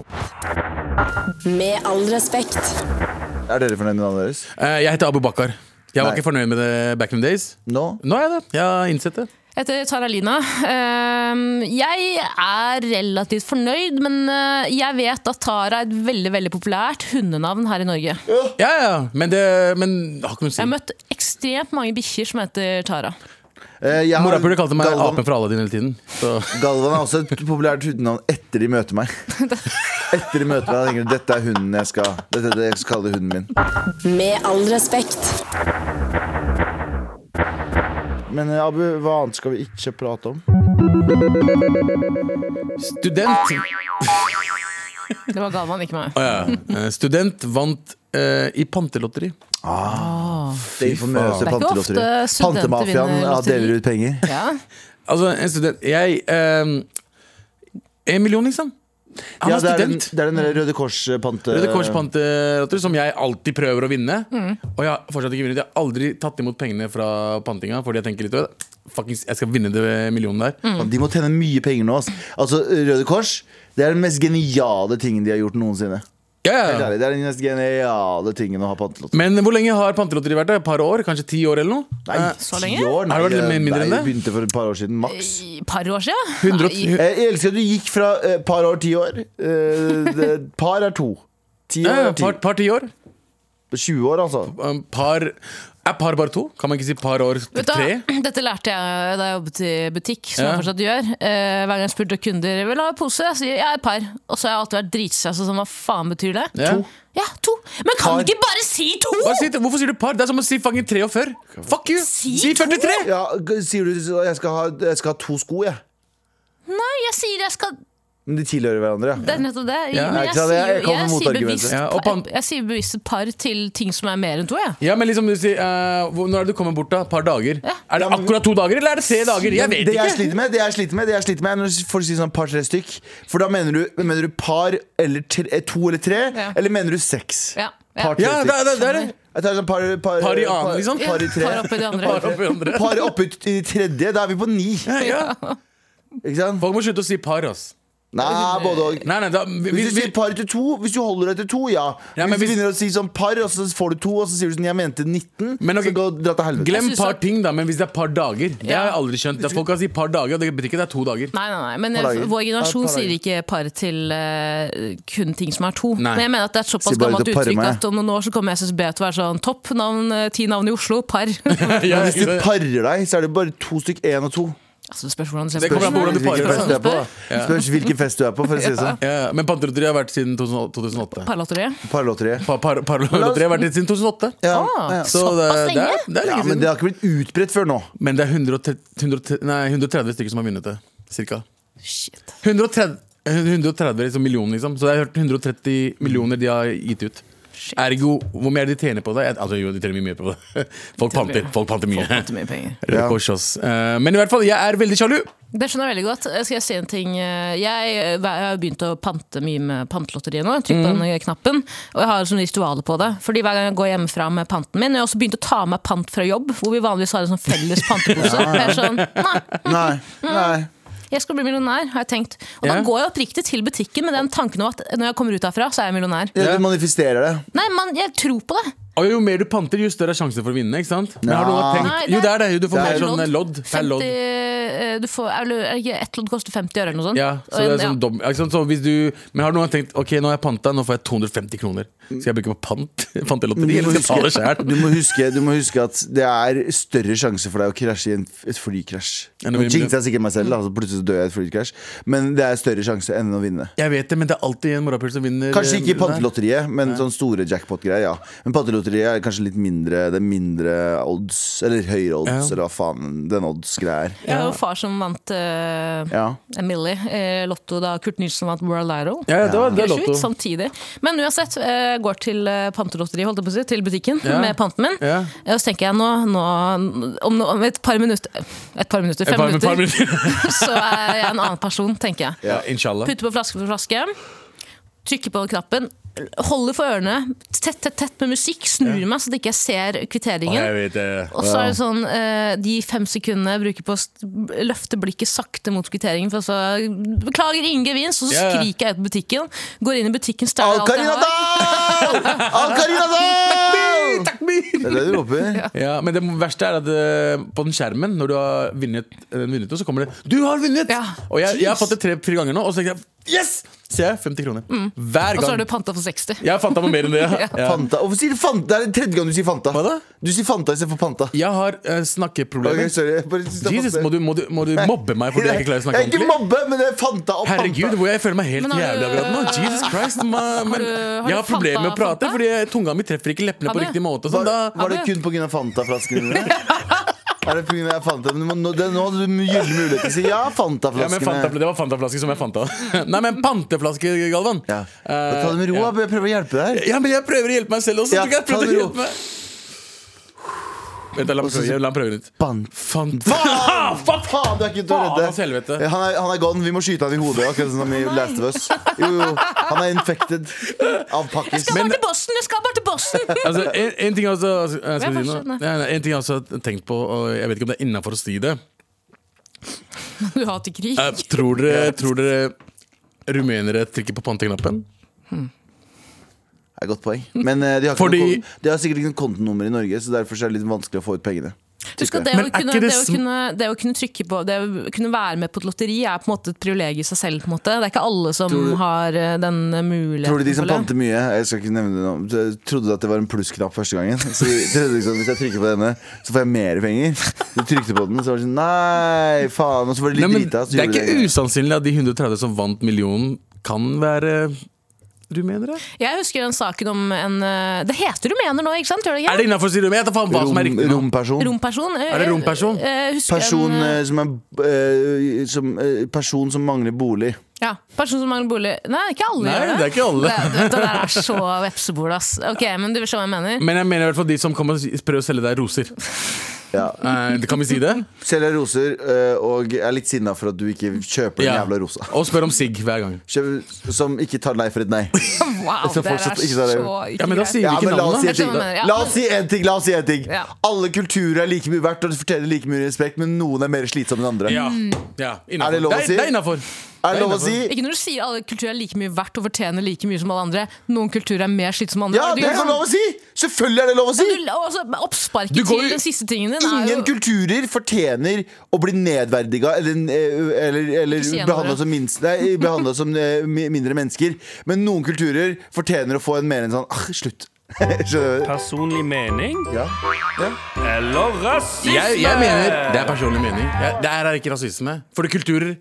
Speaker 1: Med all respekt.
Speaker 2: Er dere fornøyd med navnet deres?
Speaker 4: Eh, jeg heter Abu Bakar. Jeg var
Speaker 2: Nei.
Speaker 4: ikke fornøyd med det back in the days.
Speaker 2: Nå?
Speaker 4: Nå er jeg det. Jeg har innsett det.
Speaker 3: Jeg heter Tara Lina. Ehm, Jeg er relativt fornøyd, men øh, jeg vet at Tara er et veldig veldig populært hundenavn her i Norge. Jeg
Speaker 4: Ja, ja, men det, men, det har ikke noe å si.
Speaker 3: har møtt ekstremt mange bikkjer som heter Tara.
Speaker 2: Eh, jeg har-
Speaker 4: Morapuler kalte meg
Speaker 2: Galvan,
Speaker 4: apen fra Aladdin hele tiden. Så.
Speaker 2: Galvan er også et populært hundenavn etter de møter meg. Etter de møter meg, da tenker de dette er hunden jeg skal Dette er det jeg skal kalle hunden min.
Speaker 1: Med all respekt.
Speaker 2: Men eh, Abu, hva annet skal vi ikke prate om?
Speaker 4: Student
Speaker 3: Det var Galvan, ikke meg.
Speaker 4: Å, ja. Eh, Student vant eh, i pantelotteri.
Speaker 2: Det informøse
Speaker 4: faen.
Speaker 3: Det er ikke
Speaker 2: pantelotteriet.
Speaker 3: ofte studenter
Speaker 2: Pantemafiaen
Speaker 3: vinner
Speaker 2: ja,
Speaker 3: lotteri.
Speaker 2: deler ut penger.
Speaker 3: Ja.
Speaker 4: Altså, en student Jeg eh, En million, liksom. Han
Speaker 2: Ja,
Speaker 4: var
Speaker 2: det, er den,
Speaker 4: student.
Speaker 2: det er den der Røde eh, Kors-pante...
Speaker 4: Røde Kors pantelotteri, som jeg alltid prøver å vinne. Og jeg har fortsatt ikke vunnet. Jeg har aldri tatt imot pengene fra pantinga. Fordi jeg tenker litt «Øh, Fuckings, jeg skal vinne det millionen der.
Speaker 2: Faen, Mm. De må tjene mye penger nå. ass. Altså, Røde Kors det er den mest geniale tingen de har gjort noensinne.
Speaker 4: Ja,
Speaker 2: Helt
Speaker 4: ja.
Speaker 2: ærlig, Det er den mest geniale tingen å ha pantelott.
Speaker 4: Men hvor lenge har pantelotteri vært? der? Et par år? Kanskje ti år eller noe? Eh,
Speaker 3: så lenge?
Speaker 2: ti år? Nei,
Speaker 4: Har det vært litt mindre enn
Speaker 2: nei,
Speaker 4: det?
Speaker 2: begynte for et par år siden, maks.
Speaker 3: I et par år siden?
Speaker 4: 100,
Speaker 3: Nei.
Speaker 2: Eh, Jeg elsker at du gikk fra eh, par år ti år. Eh, det, par er to. Ti
Speaker 4: ja,
Speaker 2: år
Speaker 4: ja,
Speaker 2: er ti.
Speaker 4: par, par ti år.
Speaker 2: 20 år, altså.
Speaker 4: Um, Par Er par bare to? Kan man ikke si par år til
Speaker 3: Vet du,
Speaker 4: tre?
Speaker 3: hva? dette lærte jeg da jeg jobbet i butikk, som
Speaker 4: Ja.
Speaker 3: jeg fortsatt gjør. Eh, hver gang jeg spurte kunder vil du ha en pose, jeg sier jeg er et par. Og så har jeg alltid vært dritsøs og sånn, hva faen betyr det?
Speaker 4: Ja.
Speaker 3: Ja, to. Men kan
Speaker 2: Par.
Speaker 3: du ikke bare si to?!
Speaker 4: Hva sier- hvorfor sier du par? Det er som å si fangen 43. Fuck you!
Speaker 3: Si
Speaker 4: Si 43!
Speaker 2: Ja, g- sier du så jeg skal ha, jeg skal ha to sko, jeg.
Speaker 3: Nei, jeg sier jeg skal
Speaker 2: Men de tilhører hverandre.
Speaker 3: Det
Speaker 2: Ja.
Speaker 3: er nettopp det.
Speaker 4: Ja.
Speaker 3: Men
Speaker 2: Ikke
Speaker 3: jeg,
Speaker 2: sant,
Speaker 3: sier,
Speaker 2: jeg- jeg
Speaker 3: jeg,
Speaker 2: kommer mot
Speaker 3: sier
Speaker 2: argumentet.
Speaker 3: bevisst
Speaker 4: Ja, og
Speaker 3: par,
Speaker 4: pan-
Speaker 3: jeg sier bevisst par til ting som er mer enn to, jeg.
Speaker 4: Ja, men liksom du sier, eh, hvor- Når er det du kommer bort, da? Par dager? Er det akkurat to dager, eller er det tre dager? Jeg vet
Speaker 2: Det jeg
Speaker 4: ikke.
Speaker 2: sliter med, det jeg sliter med, det jeg sliter med er når folk sier sånn par-tre stykk. For da mener du, mener du par eller tre, eh, to eller tre,
Speaker 3: Ja.
Speaker 2: eller mener du seks?
Speaker 3: Ja, ja.
Speaker 2: Par-tre
Speaker 4: Ja, det, er- det, er- det er det.
Speaker 2: Jeg tar sånn par, par,
Speaker 4: Par i annen, liksom?
Speaker 2: Par i tre.
Speaker 3: Par oppi de andre.
Speaker 4: Par oppi andre.
Speaker 2: Par oppe i i tredje, da er vi på ni.
Speaker 4: Ja.
Speaker 2: Ikke sant?
Speaker 4: Folk må slutte å si par, ass.
Speaker 2: Nei, både og.
Speaker 4: Nei, nei, da, vi, vi,
Speaker 2: Hvis du sier
Speaker 4: vi,
Speaker 2: par til to, hvis du holder deg til to, ja.
Speaker 4: Ja, men
Speaker 2: hvis du
Speaker 4: hvis-
Speaker 2: begynner å si sånn par, og så får du to, og så sier du sånn jeg mente 19,
Speaker 4: Men ok,
Speaker 2: så gå dra til helvete.
Speaker 4: glem
Speaker 3: Jeg synes
Speaker 4: par
Speaker 3: at-
Speaker 4: ting, da, men hvis det er par dager Det har jeg
Speaker 3: Ja.
Speaker 4: aldri skjønt. Det er- Folk kan si par dager, og det betyr ikke det er to dager.
Speaker 3: Nei, nei, nei, men
Speaker 2: Par
Speaker 3: eh,
Speaker 2: dager.
Speaker 3: vår generasjon
Speaker 2: Ja, par dager.
Speaker 3: sier ikke par til eh, kun ting som er to.
Speaker 4: Nei.
Speaker 3: Men jeg mener at det er et såpass
Speaker 2: Sier bare
Speaker 3: gammelt
Speaker 2: det parer
Speaker 3: uttrykk
Speaker 2: meg.
Speaker 3: at om noen år så kommer SSB til å være sånn topp navn, eh, ti navn i Oslo,
Speaker 4: <laughs>
Speaker 3: par. altså,
Speaker 2: <laughs>
Speaker 4: Ja,
Speaker 2: Men hvis du
Speaker 4: det-
Speaker 2: parer deg, så er det bare to stykk én og to.
Speaker 3: det spørs hvordan du ser
Speaker 4: Det kommer an på hvordan du
Speaker 2: Spørs hvilken
Speaker 4: parer
Speaker 2: fest du er på. da. Spørs hvilken fest du er på, for å si det sånn.
Speaker 4: ja, men pantelotteriet har vært siden 2000 2008.
Speaker 3: Parlotteriet.
Speaker 2: Parlotteriet.
Speaker 4: Pa- par- Parlotteriet har vært siden 2008.
Speaker 2: Ja,
Speaker 3: Ah.
Speaker 2: ja.
Speaker 4: Så det, det, er, det er
Speaker 2: ja,
Speaker 4: lenge
Speaker 2: men det
Speaker 4: siden.
Speaker 2: har ikke blitt utbredt før nå.
Speaker 4: Men det er 130, 130, nei, 130 stykker som har vunnet det. Cirka.
Speaker 3: Shit.
Speaker 4: 130, 130 liksom, millioner, liksom. Så jeg har hørt 130 millioner de har gitt ut. Ergo, hvor mye er det de tjener på det? Jeg- Altså, jo, de tjener mye mer på det. <laughs> Folk panter, folk panter mye.
Speaker 3: Fått mye penger.
Speaker 4: Røde Kors, ass. Eh, Men i hvert fall, jeg er veldig sjalu.
Speaker 3: Det skjønner jeg veldig godt. Eh, Skal jeg si en ting? Eh, Jeg, eh, jeg har begynt å pante mye med pantelotteriet nå. Trykk på
Speaker 4: Mm.
Speaker 3: den knappen. Og jeg har sånn ritualer på det. Fordi hver gang jeg går hjemmefra med panten min, jeg har også begynt å ta med pant fra jobb, hvor vi vanligvis har en sånn felles
Speaker 4: <laughs>
Speaker 3: pantepose. Og Jeg er sånn, nei,
Speaker 2: Nei, nei.
Speaker 3: jeg skal bli millionær, har jeg tenkt. Og
Speaker 4: Ja.
Speaker 3: da går jeg oppriktig til butikken med den tanken om at når jeg kommer ut derfra, så er jeg millionær.
Speaker 2: Ja, du manifesterer det.
Speaker 3: Nei, man, jeg tror på det.
Speaker 4: Og jo mer du panter, jo større er sjansen for å vinne. ikke sant? Men har
Speaker 2: Nei.
Speaker 4: noen tenkt, jo, Ah. det er det. Jo, du får
Speaker 2: Det
Speaker 4: mer
Speaker 2: er
Speaker 4: sånn eh, lodd. Det er lodd.
Speaker 3: 50, eh, du får, er det ikke et lodd koster 50 øre eller noe sånt?
Speaker 4: Ja, så det
Speaker 3: Og
Speaker 4: er
Speaker 3: en-
Speaker 4: sånn dobbelt, ikke sant? så hvis du, Men har noen tenkt ok, nå har jeg panta, nå får jeg 250 kroner. Skal jeg bruke på pant? <laughs> Pantelotteri?
Speaker 2: Du må
Speaker 4: Eller skal jeg ta
Speaker 2: huske-
Speaker 4: det sjæl?
Speaker 2: du, må huske, du må huske at det er større sjanse for deg å krasje i en, f- et flykrasj.
Speaker 4: Enn å
Speaker 2: Nå
Speaker 4: vinne.
Speaker 2: jinxer jeg sikkert meg selv, da, så plutselig så dør jeg i et flykrasj. Men det er større sjanse enn å vinne.
Speaker 4: Jeg vet det, men det er alltid en morapul som vinner.
Speaker 2: Kanskje ikke i
Speaker 4: eh, der.
Speaker 2: pantelotteriet, men sånn store jackpot-greier. ja Men pantelotteriet er kanskje litt mindre Det er mindre odds, eller høyere odds,
Speaker 4: Ja.
Speaker 2: eller hva faen den odds-greia er.
Speaker 3: Jeg har jo far som vant eh,
Speaker 2: Ja.
Speaker 3: Millie eh, Lotto da Kurt Nilsen vant World Idol.
Speaker 4: Ja, ja, det var, det er
Speaker 3: Sjukt, sånn
Speaker 4: lotto.
Speaker 3: samtidig. Men uansett, eh, går til eh, pantelotteriet, holdt jeg på å si, til butikken
Speaker 4: Ja.
Speaker 3: med panten min. Eh,
Speaker 4: Ja.
Speaker 3: Og så tenker jeg nå, nå om, no- om et par minutter Et par minutter,
Speaker 4: Et
Speaker 3: fem
Speaker 4: par, et par
Speaker 3: minutter, <laughs>
Speaker 4: minutter.
Speaker 3: så er jeg en annen person, tenker jeg.
Speaker 4: Ja, Inshallah.
Speaker 3: Putter på flaske for flaske. Trykker på knappen. Holder for ørene, tett tett, tett med musikk. Snur meg så at jeg ikke ser
Speaker 4: Å,
Speaker 3: kvitteringen.
Speaker 4: jeg vet det.
Speaker 3: Og så er det sånn eh, De fem sekundene jeg bruker på å st- løfte blikket sakte mot kvitteringen. For så Beklager, ingen gevinst! Og så
Speaker 4: Ja, ja.
Speaker 3: skriker jeg ut på butikken. Går inn i butikken, stjeler alt jeg
Speaker 2: Al-Karina
Speaker 3: har.
Speaker 2: Dahl! Al-Karina Dahl! Det er det du roper.
Speaker 4: Ja, men det verste er at eh, på den skjermen, når du har vunnet, eh, vunnet noe, så kommer det 'Du har vunnet!'
Speaker 3: Ja.
Speaker 4: Og jeg, jeg har fått det tre-fire ganger nå, og så tenker jeg 'Yes!' Ser jeg 50 kroner. Hver
Speaker 3: Mm. Og så har
Speaker 4: gang.
Speaker 3: du panta for 60.
Speaker 4: Jeg har fanta på mer enn
Speaker 3: <laughs>
Speaker 4: det. ja. Ja.
Speaker 2: Fanta. Hvorfor sier du Fanta? Det er den tredje gang du sier Fanta.
Speaker 4: Hva da?
Speaker 2: Du sier Fanta istedenfor Panta.
Speaker 4: Jeg har eh,
Speaker 2: Ok,
Speaker 4: snakkeproblemer.
Speaker 2: sorry. jeg bare synes det er
Speaker 4: Jesus,
Speaker 2: Fanta.
Speaker 4: må du, må, du, må du mobbe meg fordi jeg ikke klarer å snakke
Speaker 2: Jeg er ikke
Speaker 4: ordentlig?
Speaker 2: mobbe, men det er Fanta og
Speaker 4: Herregud,
Speaker 2: Panta.
Speaker 4: hvor jeg føler meg helt
Speaker 3: Men har du-
Speaker 4: jævlig akkurat nå. Jesus Christ, ma, men,
Speaker 3: har du
Speaker 4: Jeg har problemer med å
Speaker 3: fanta-
Speaker 4: prate,
Speaker 3: fanta?
Speaker 4: fordi jeg- tunga mi treffer ikke leppene
Speaker 3: Har
Speaker 4: på
Speaker 3: du?
Speaker 4: riktig måte. Så
Speaker 2: Var,
Speaker 4: da,
Speaker 2: var det
Speaker 3: Ja, men-
Speaker 2: kun pga. Fanta-flaskene
Speaker 4: <laughs>
Speaker 2: dine? Er det på grunn av Fanta? Men du må- nå, det, nå hadde du gyllen mulighet til å si ja,
Speaker 4: ja, men fanta,
Speaker 2: Fanta-flaskene.
Speaker 4: det var fantaflaske som jeg fanta. <laughs> Nei, men panteflaske, Galvan.
Speaker 2: Ja,
Speaker 4: Eh,
Speaker 2: Ta det med ro,
Speaker 4: ja.
Speaker 2: jeg prøver å hjelpe deg. her.
Speaker 4: Ja, men jeg prøver å hjelpe meg selv også.
Speaker 2: Ja,
Speaker 4: tror du ikke jeg
Speaker 2: ta
Speaker 4: prøvde
Speaker 2: det
Speaker 4: å
Speaker 2: ro.
Speaker 4: hjelpe meg. Vent, da, la meg prøve, la meg prøve litt.
Speaker 2: Ban-
Speaker 4: Fant...
Speaker 2: Faen!
Speaker 4: Fuck!
Speaker 2: Faen, du er ikke til å
Speaker 4: Faen,
Speaker 2: redde.
Speaker 4: ass, helvete.
Speaker 2: Eh, Han er, han er gone. Vi må skyte han i hodet, akkurat som i Last of Us. Jo, jo. Han er infected av pakkis.
Speaker 3: Skal bare til Boston! Jeg skal bare til Boston!
Speaker 4: <laughs> <laughs> Altså, en, en ting jeg også eh, skal
Speaker 3: Ja,
Speaker 4: jeg si
Speaker 3: fortsett,
Speaker 4: nå.
Speaker 3: nei.
Speaker 4: Nei, nei, En ting jeg også har tenkt på, og jeg vet ikke om det er innafor å si det.
Speaker 3: <laughs> Du hater krig.
Speaker 4: Eh, tror, dere, tror dere rumenere trykker på panteknappen?
Speaker 2: Det er et godt poeng. Men eh, de har, ikke
Speaker 4: Fordi-
Speaker 2: noe kon- de har sikkert ikke noe kontonummer i Norge, så derfor så er det litt vanskelig å få ut pengene.
Speaker 3: Husk at det
Speaker 4: Men
Speaker 3: å,
Speaker 4: er
Speaker 3: kunne,
Speaker 4: ikke det
Speaker 3: det, å
Speaker 4: sm-
Speaker 3: kunne, det å kunne trykke på Det å kunne være med på et lotteri er på en måte et privilegium i seg selv. på en måte Det er ikke alle som har eh, den muligheten.
Speaker 2: Tror du de som
Speaker 3: for det.
Speaker 2: panter mye Jeg skal ikke nevne det nå t- Trodde at det var en plussknapp første gangen Så de trodde liksom Hvis jeg trykker på denne Så får jeg mer penger Du trykte på den Så var det sånn Nei, faen Og så var det
Speaker 4: Nei,
Speaker 2: litt
Speaker 4: men,
Speaker 2: drita så
Speaker 4: det er
Speaker 2: gjorde
Speaker 4: ikke usannsynlig at de 130 som vant millionen, kan være rumenere.
Speaker 3: Jeg husker den saken om en eh, Det heter rumener nå, ikke sant? Gjør det
Speaker 4: Er
Speaker 3: ikke?
Speaker 4: det innafor å si rumener? Jeg vet da faen hva som er
Speaker 2: Rom,
Speaker 4: riktig. nå.
Speaker 2: Romperson
Speaker 3: Romperson? eh,
Speaker 4: Er det romperson?
Speaker 3: eh, eh, husker
Speaker 2: Person
Speaker 3: en, eh,
Speaker 2: eh, som er eh, som, eh, Person som mangler bolig
Speaker 3: ja, person som mangler bolig. Nei, ikke alle
Speaker 4: Nei,
Speaker 3: gjør det.
Speaker 4: det er ikke alle.
Speaker 3: Det, det der er så vepsebol, ass. Ok, men du skjønner hva jeg mener.
Speaker 4: Men jeg mener i hvert fall de som kommer og s- prøver å selge deg roser. <laughs>
Speaker 2: ja.
Speaker 4: Eh, kan vi si det?
Speaker 2: Selger roser eh, Og er litt sinna for at du ikke kjøper den
Speaker 4: Ja.
Speaker 2: jævla rosa
Speaker 4: Og spør om sigg hver gang.
Speaker 2: Kjøper, Som ikke tar nei for et nei
Speaker 3: Wow,
Speaker 2: skal
Speaker 3: det der
Speaker 2: fortsatt
Speaker 3: er
Speaker 2: ikke ta
Speaker 3: så
Speaker 2: det.
Speaker 3: ikke
Speaker 4: Mm. Ja, men da
Speaker 3: greit.
Speaker 4: sier
Speaker 2: Ja,
Speaker 4: vi ikke
Speaker 2: men la oss si en ting.
Speaker 4: navnet.
Speaker 3: Jeg skjønner hva du mener, ja.
Speaker 2: La oss si en ting, la oss si en ting.
Speaker 3: Ja.
Speaker 2: Alle kulturer er like mye verdt og fortjener like mye respekt, men noen er mer slitsomme enn andre.
Speaker 4: Ja, ja, innenfor.
Speaker 2: Mm. Er det lov å si?
Speaker 4: Det er innafor.
Speaker 2: Er det lov å si?
Speaker 3: Ikke når du sier alle kulturer er like mye verdt og fortjener like mye som alle andre. Noen kulturer er mer slitsomme enn andre.
Speaker 2: Ja,
Speaker 3: Du- liksom-
Speaker 2: det er lov å si! Selvfølgelig er det lov å si!
Speaker 3: Du- og også Oppsparket
Speaker 4: Du går
Speaker 3: til
Speaker 4: jo-
Speaker 3: den siste tingen din er
Speaker 2: Ingen
Speaker 3: jo
Speaker 2: kulturer fortjener å bli nedverdiga eller, eh, eller, eller
Speaker 3: Ikke si en
Speaker 2: behandla
Speaker 3: andre.
Speaker 2: som, minst, nei, behandlet som eh, mi- mindre mennesker. Men noen kulturer fortjener å få en mer enn sånn ah, slutt. <laughs> Skjønner du?
Speaker 6: Personlig mening
Speaker 2: Ja. Ja.
Speaker 6: eller rasisme?
Speaker 4: Jeg, jeg mener, Det er personlig mening. Jeg, det her er ikke rasisme. Fordi kulturer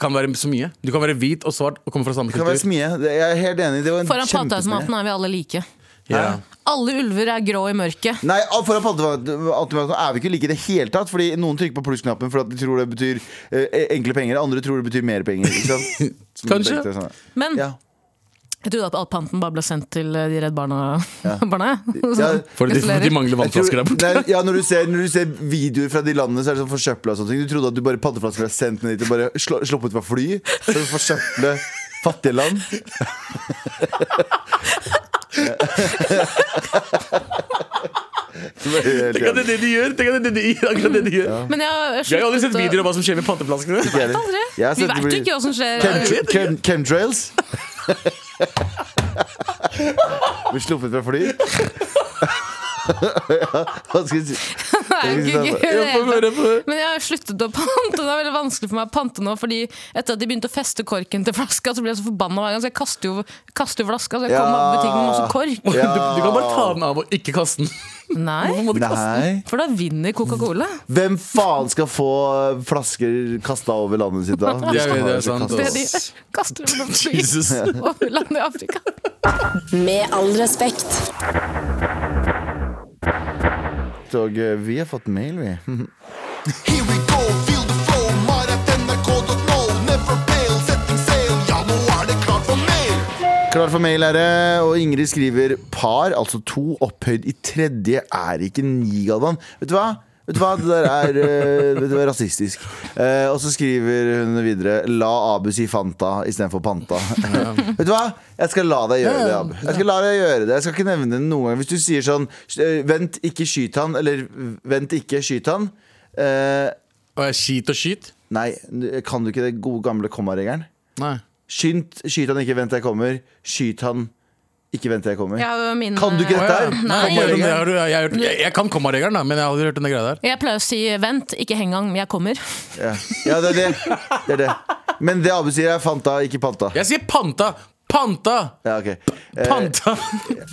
Speaker 4: kan være så mye. Du kan være hvit og svart og komme fra samme
Speaker 2: Det kan være
Speaker 4: kultur.
Speaker 2: smie. Det- Jeg er helt enig. Det var en
Speaker 3: Foran
Speaker 2: kjempesmie.
Speaker 3: plateautomaten er vi alle like.
Speaker 4: Ja.
Speaker 3: Alle ulver er grå i mørket.
Speaker 2: Nei, ah, al- foran panteautomaten er vi ikke like i det hele tatt. Fordi noen trykker på plussknappen for at de tror det betyr eh, enkle penger. Andre tror det betyr mer penger. Ikke sant? Som
Speaker 4: Kanskje.
Speaker 2: det er sånn.
Speaker 3: Men
Speaker 2: Ja.
Speaker 3: jeg trodde at all panten bare ble sendt til eh, de Redd <laughs> Barna-barna.
Speaker 2: Ja.
Speaker 4: For de, de mangler
Speaker 2: Jeg tror-
Speaker 4: vannflasker der borte.
Speaker 2: Nei, ja, når, du ser, når du ser videoer fra de landene, så er det sånn forsøpla og sånne ting. Du trodde at du bare paddeflasker ble sendt ned dit og bare slå, sluppet fra fly for å forsøple fattige land. Det er helt
Speaker 4: Tenk at
Speaker 2: jævlig.
Speaker 4: det er det de gjør! Tenk at det er det de, akkurat det de gjør.
Speaker 3: Men jeg har
Speaker 4: Jeg har aldri
Speaker 3: sluttet
Speaker 4: sett
Speaker 3: å-
Speaker 4: videoer av hva som skjer med panteflaskene.
Speaker 2: Jeg
Speaker 3: Aldri.
Speaker 2: har
Speaker 3: Vi
Speaker 2: sett det
Speaker 3: vet jo
Speaker 2: blir-
Speaker 3: ikke hva som skjer.
Speaker 2: Chemtra- chem-
Speaker 4: <laughs>
Speaker 2: Chemtrails? Blir sluppet fra fly? <laughs> ja, hva skal vi si?
Speaker 3: Nei,
Speaker 2: Jeg
Speaker 3: gud,
Speaker 2: synes
Speaker 3: gud,
Speaker 2: det
Speaker 4: <laughs> Jeg får
Speaker 3: det er-
Speaker 4: høre på det.
Speaker 3: Men jeg har jeg sluttet å pante. Det er veldig vanskelig for meg å pante nå, fordi etter at de begynte å feste korken til flaska, så ble jeg så forbanna hver gang, så jeg kaster jo, kaster jo flaska. Så jeg kom av butikken med masse kork.
Speaker 2: Ja.
Speaker 4: Du, du kan bare ta den av og ikke kaste den. Hvorfor
Speaker 3: <laughs> Nei,
Speaker 4: må du kaste den?
Speaker 2: Nei.
Speaker 3: for da vinner Coca-Cola.
Speaker 2: Hvem faen skal få flasker kasta over landet sitt
Speaker 4: <laughs>
Speaker 2: da?
Speaker 4: Jeg vet, det er sant,
Speaker 2: Kastet over.
Speaker 3: Det de kaster over noen fly <laughs>
Speaker 4: Jesus.
Speaker 3: over landet i Afrika.
Speaker 1: Med all respekt.
Speaker 2: Og eh, vi har fått mail, vi.
Speaker 7: Here we go, feel the flow, mar at nrk.no. Never fail, setting sail, ja nå er det klart for mer.
Speaker 2: Klar for mail er det, og Ingrid skriver par, altså to, opphøyd i tredje er ikke ni, Galvan. Vet du hva? Vet du hva, det der er eh, vet du hva, rasistisk. Eh, og så skriver hun videre La Abu si Fanta istedenfor Panta. vet du hva? Jeg skal la deg gjøre det, Abu. Jeg skal la deg gjøre det. Jeg skal ikke nevne det noen gang. Hvis du sier sånn eh, Vent, ikke skyt han. Eller vent, ikke skyt han. Eh,
Speaker 4: Og jeg skit og skyt?
Speaker 2: nei, kan du ikke det gode gamle kommaregelen?
Speaker 4: Nei.
Speaker 2: Skynd, skyt han, ikke vent til jeg kommer. Skyt han, ikke vent til jeg kommer.
Speaker 3: Ja, min,
Speaker 2: Kan du ikke
Speaker 4: Å,
Speaker 2: dette
Speaker 4: ja.
Speaker 2: her?
Speaker 4: eh, Nei, kommaregelen, det har du- jeg, jeg, jeg, jeg kan kommaregelen, da, men jeg har aldri hørt denne greia der.
Speaker 3: eh, Jeg pleier å si 'vent, ikke heng gang, jeg kommer'.
Speaker 2: Ja. ja, det er det. det er det. Men det Abu sier, er fanta, ikke panta.
Speaker 4: Jeg sier panta! Panta!
Speaker 2: Ja, ok. Eh,
Speaker 4: Panta!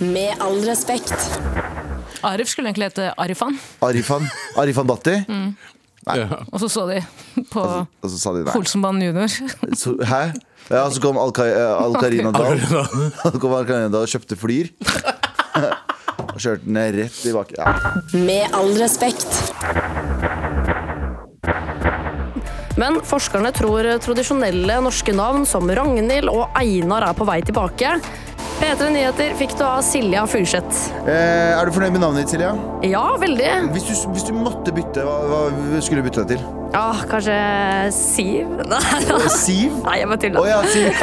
Speaker 1: Med all respekt.
Speaker 3: Arif skulle egentlig hete Arifan,
Speaker 2: Arifan. Arifan Datti.
Speaker 4: Mm. Ja.
Speaker 3: og så så de på
Speaker 2: Og så sa de nei.
Speaker 3: Holsenbanen junior.
Speaker 2: Så, hæ? Ja, så kom Al-Karina Dahl. Så kom Al-Karina Dahl og kjøpte flyer. Og kjørte den rett tilbake. Ja.
Speaker 1: Med all respekt.
Speaker 8: Men forskerne tror tradisjonelle norske navn som Ragnhild og Einar er på vei tilbake. P3 Nyheter fikk du av Silja Furseth.
Speaker 2: Eh, er du fornøyd med navnet ditt, Silja?
Speaker 8: Ja, veldig.
Speaker 2: Hvis du, hvis du måtte bytte, hva, hva skulle du bytte deg
Speaker 4: <laughs>
Speaker 2: til?
Speaker 8: Ja, kanskje Siv? <laughs> Nei, da.
Speaker 2: Siv?
Speaker 8: Nei jeg bare
Speaker 2: Å
Speaker 8: tuller.
Speaker 2: ja, sier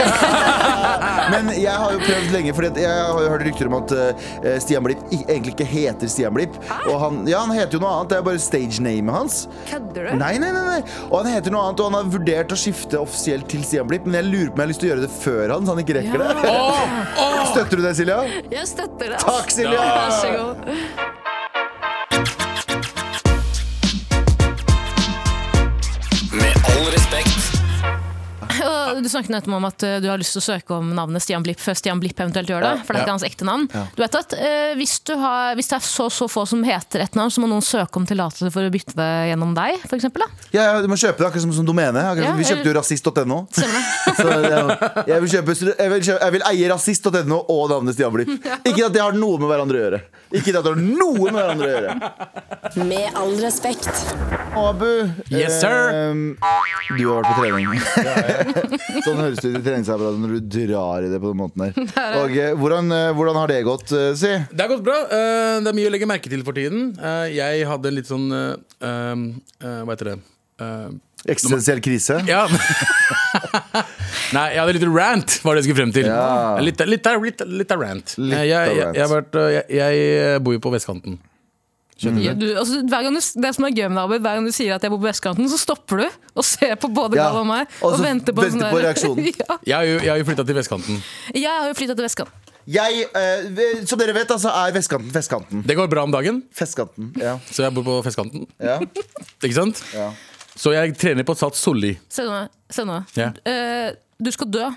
Speaker 2: <laughs> Men jeg har jo prøvd lenge, Fordi at jeg har jo hørt rykter om at eh, Stian Blipp i- egentlig ikke heter Stian Blipp. Og han, ja, han heter jo noe annet, det er bare stagenamet hans.
Speaker 8: Kødder du?
Speaker 2: Nei, nei, nei, nei. Og han heter noe annet, og han har vurdert å skifte offisielt til Stian Blipp, men jeg lurer på om jeg har lyst til å gjøre det før han, så han ikke rekker det. Støtter du det, Silja?
Speaker 8: Jeg støtter det.
Speaker 2: Takk, Silja!
Speaker 8: Vær så god.
Speaker 9: Med all respekt.
Speaker 3: Og Du snakket nettopp om at eh, du har lyst til å søke om navnet Stian Blipp før Stian Blipp eventuelt gjør det. For det er
Speaker 4: Ja.
Speaker 3: ikke hans ekte navn. Du vet at eh, hvis, du har, hvis det er så så få som heter et navn, så må noen søke om tillatelse for å bytte det gjennom deg, for eksempel, da.
Speaker 2: Ja, ja, du må kjøpe det, akkurat som, som domene. Akkurat,
Speaker 3: Ja,
Speaker 2: som- vi kjøpte jo rasist.no.
Speaker 3: Stemmer det?
Speaker 2: Så ja, jeg, vil kjøpe, jeg, vil kjøpe, jeg vil eie rasist.no og navnet Stian <laughs> Blipp. Ikke at det har noe med hverandre å gjøre. Ikke at det har noe med hverandre å gjøre.
Speaker 1: Med all respekt.
Speaker 2: Abu,
Speaker 4: Yes, sir.
Speaker 2: eh, du har vært på trening. sånn høres det ut i treningsarbeidet når du drar i <laughs> det på den måten her. Og, eh, hvordan, eh, hvordan har det gått, eh, si?
Speaker 4: Det har gått bra. Eh, det er mye å legge merke til for tiden. Eh, jeg hadde en litt sånn eh, eh, Hva heter det? Eh,
Speaker 2: Eksistensiell krise?
Speaker 4: ja. <laughs> Nei, jeg hadde litt rant, var det jeg skulle frem til.
Speaker 2: Ja.
Speaker 4: Litt, litt, litt, litt av rant.
Speaker 2: Litt
Speaker 4: Eh, jeg,
Speaker 2: av
Speaker 4: jeg,
Speaker 2: rant.
Speaker 4: jeg, har vært, eh, jeg, jeg bor jo på vestkanten.
Speaker 3: Ja, du, altså, hver gang du, det som er gøy med Abid, hver gang du sier at jeg bor på vestkanten, så stopper du og ser på både
Speaker 2: Ja,
Speaker 3: Gal og meg
Speaker 2: og
Speaker 3: og,
Speaker 2: så
Speaker 3: venter på, en
Speaker 2: venter
Speaker 3: sånn
Speaker 2: på
Speaker 3: der-
Speaker 2: reaksjonen.
Speaker 3: <laughs> ja.
Speaker 4: Jeg har jo, jeg har jo flytta til vestkanten.
Speaker 3: Jeg har jo flytta til vestkanten.
Speaker 2: Jeg, eh, som dere vet, altså, er vestkanten festkanten.
Speaker 4: Det går bra om dagen,
Speaker 2: Festkanten, ja.
Speaker 4: så jeg bor på vestkanten.
Speaker 2: ja.
Speaker 4: Ikke sant?
Speaker 2: Ja.
Speaker 4: Så jeg trener på Sats Solli.
Speaker 3: Se nå. Se nå.
Speaker 4: Ja.
Speaker 3: Eh, du skal dø.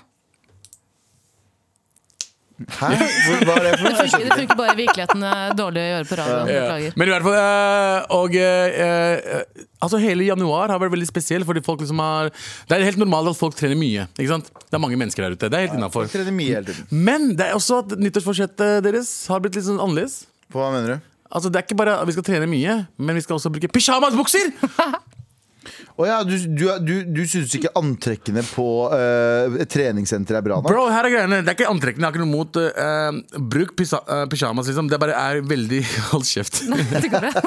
Speaker 2: Hæ? Hvor- Hva er det for <laughs> noe?
Speaker 3: Det funker, det funker bare i virkeligheten. Det er dårlig å gjøre på radioen. Beklager.
Speaker 4: Men i hvert fall eh, Og eh, eh, Altså hele januar har vært veldig spesiell, fordi folk liksom har Det er helt normalt at folk trener mye. Ikke sant? Det er mange mennesker der ute. Det er helt innafor.
Speaker 2: Trener mye hele tiden.
Speaker 4: Men det er også at nyttårsforsettet deres har blitt litt sånn annerledes.
Speaker 2: Hva mener du?
Speaker 4: Altså Det er ikke bare at vi skal trene mye, men vi skal også bruke pysjamasbukser!
Speaker 2: Å ja, du, du, du, du syns ikke antrekkene på eh, et treningssenter er bra nok?
Speaker 4: Bro, her er greiene. Det er ikke antrekkene. Jeg har ikke noe mot eh, bruk pysa- eh, pysjamas, liksom. Det bare er veldig <laughs> Hold kjeft.
Speaker 3: Det går bra.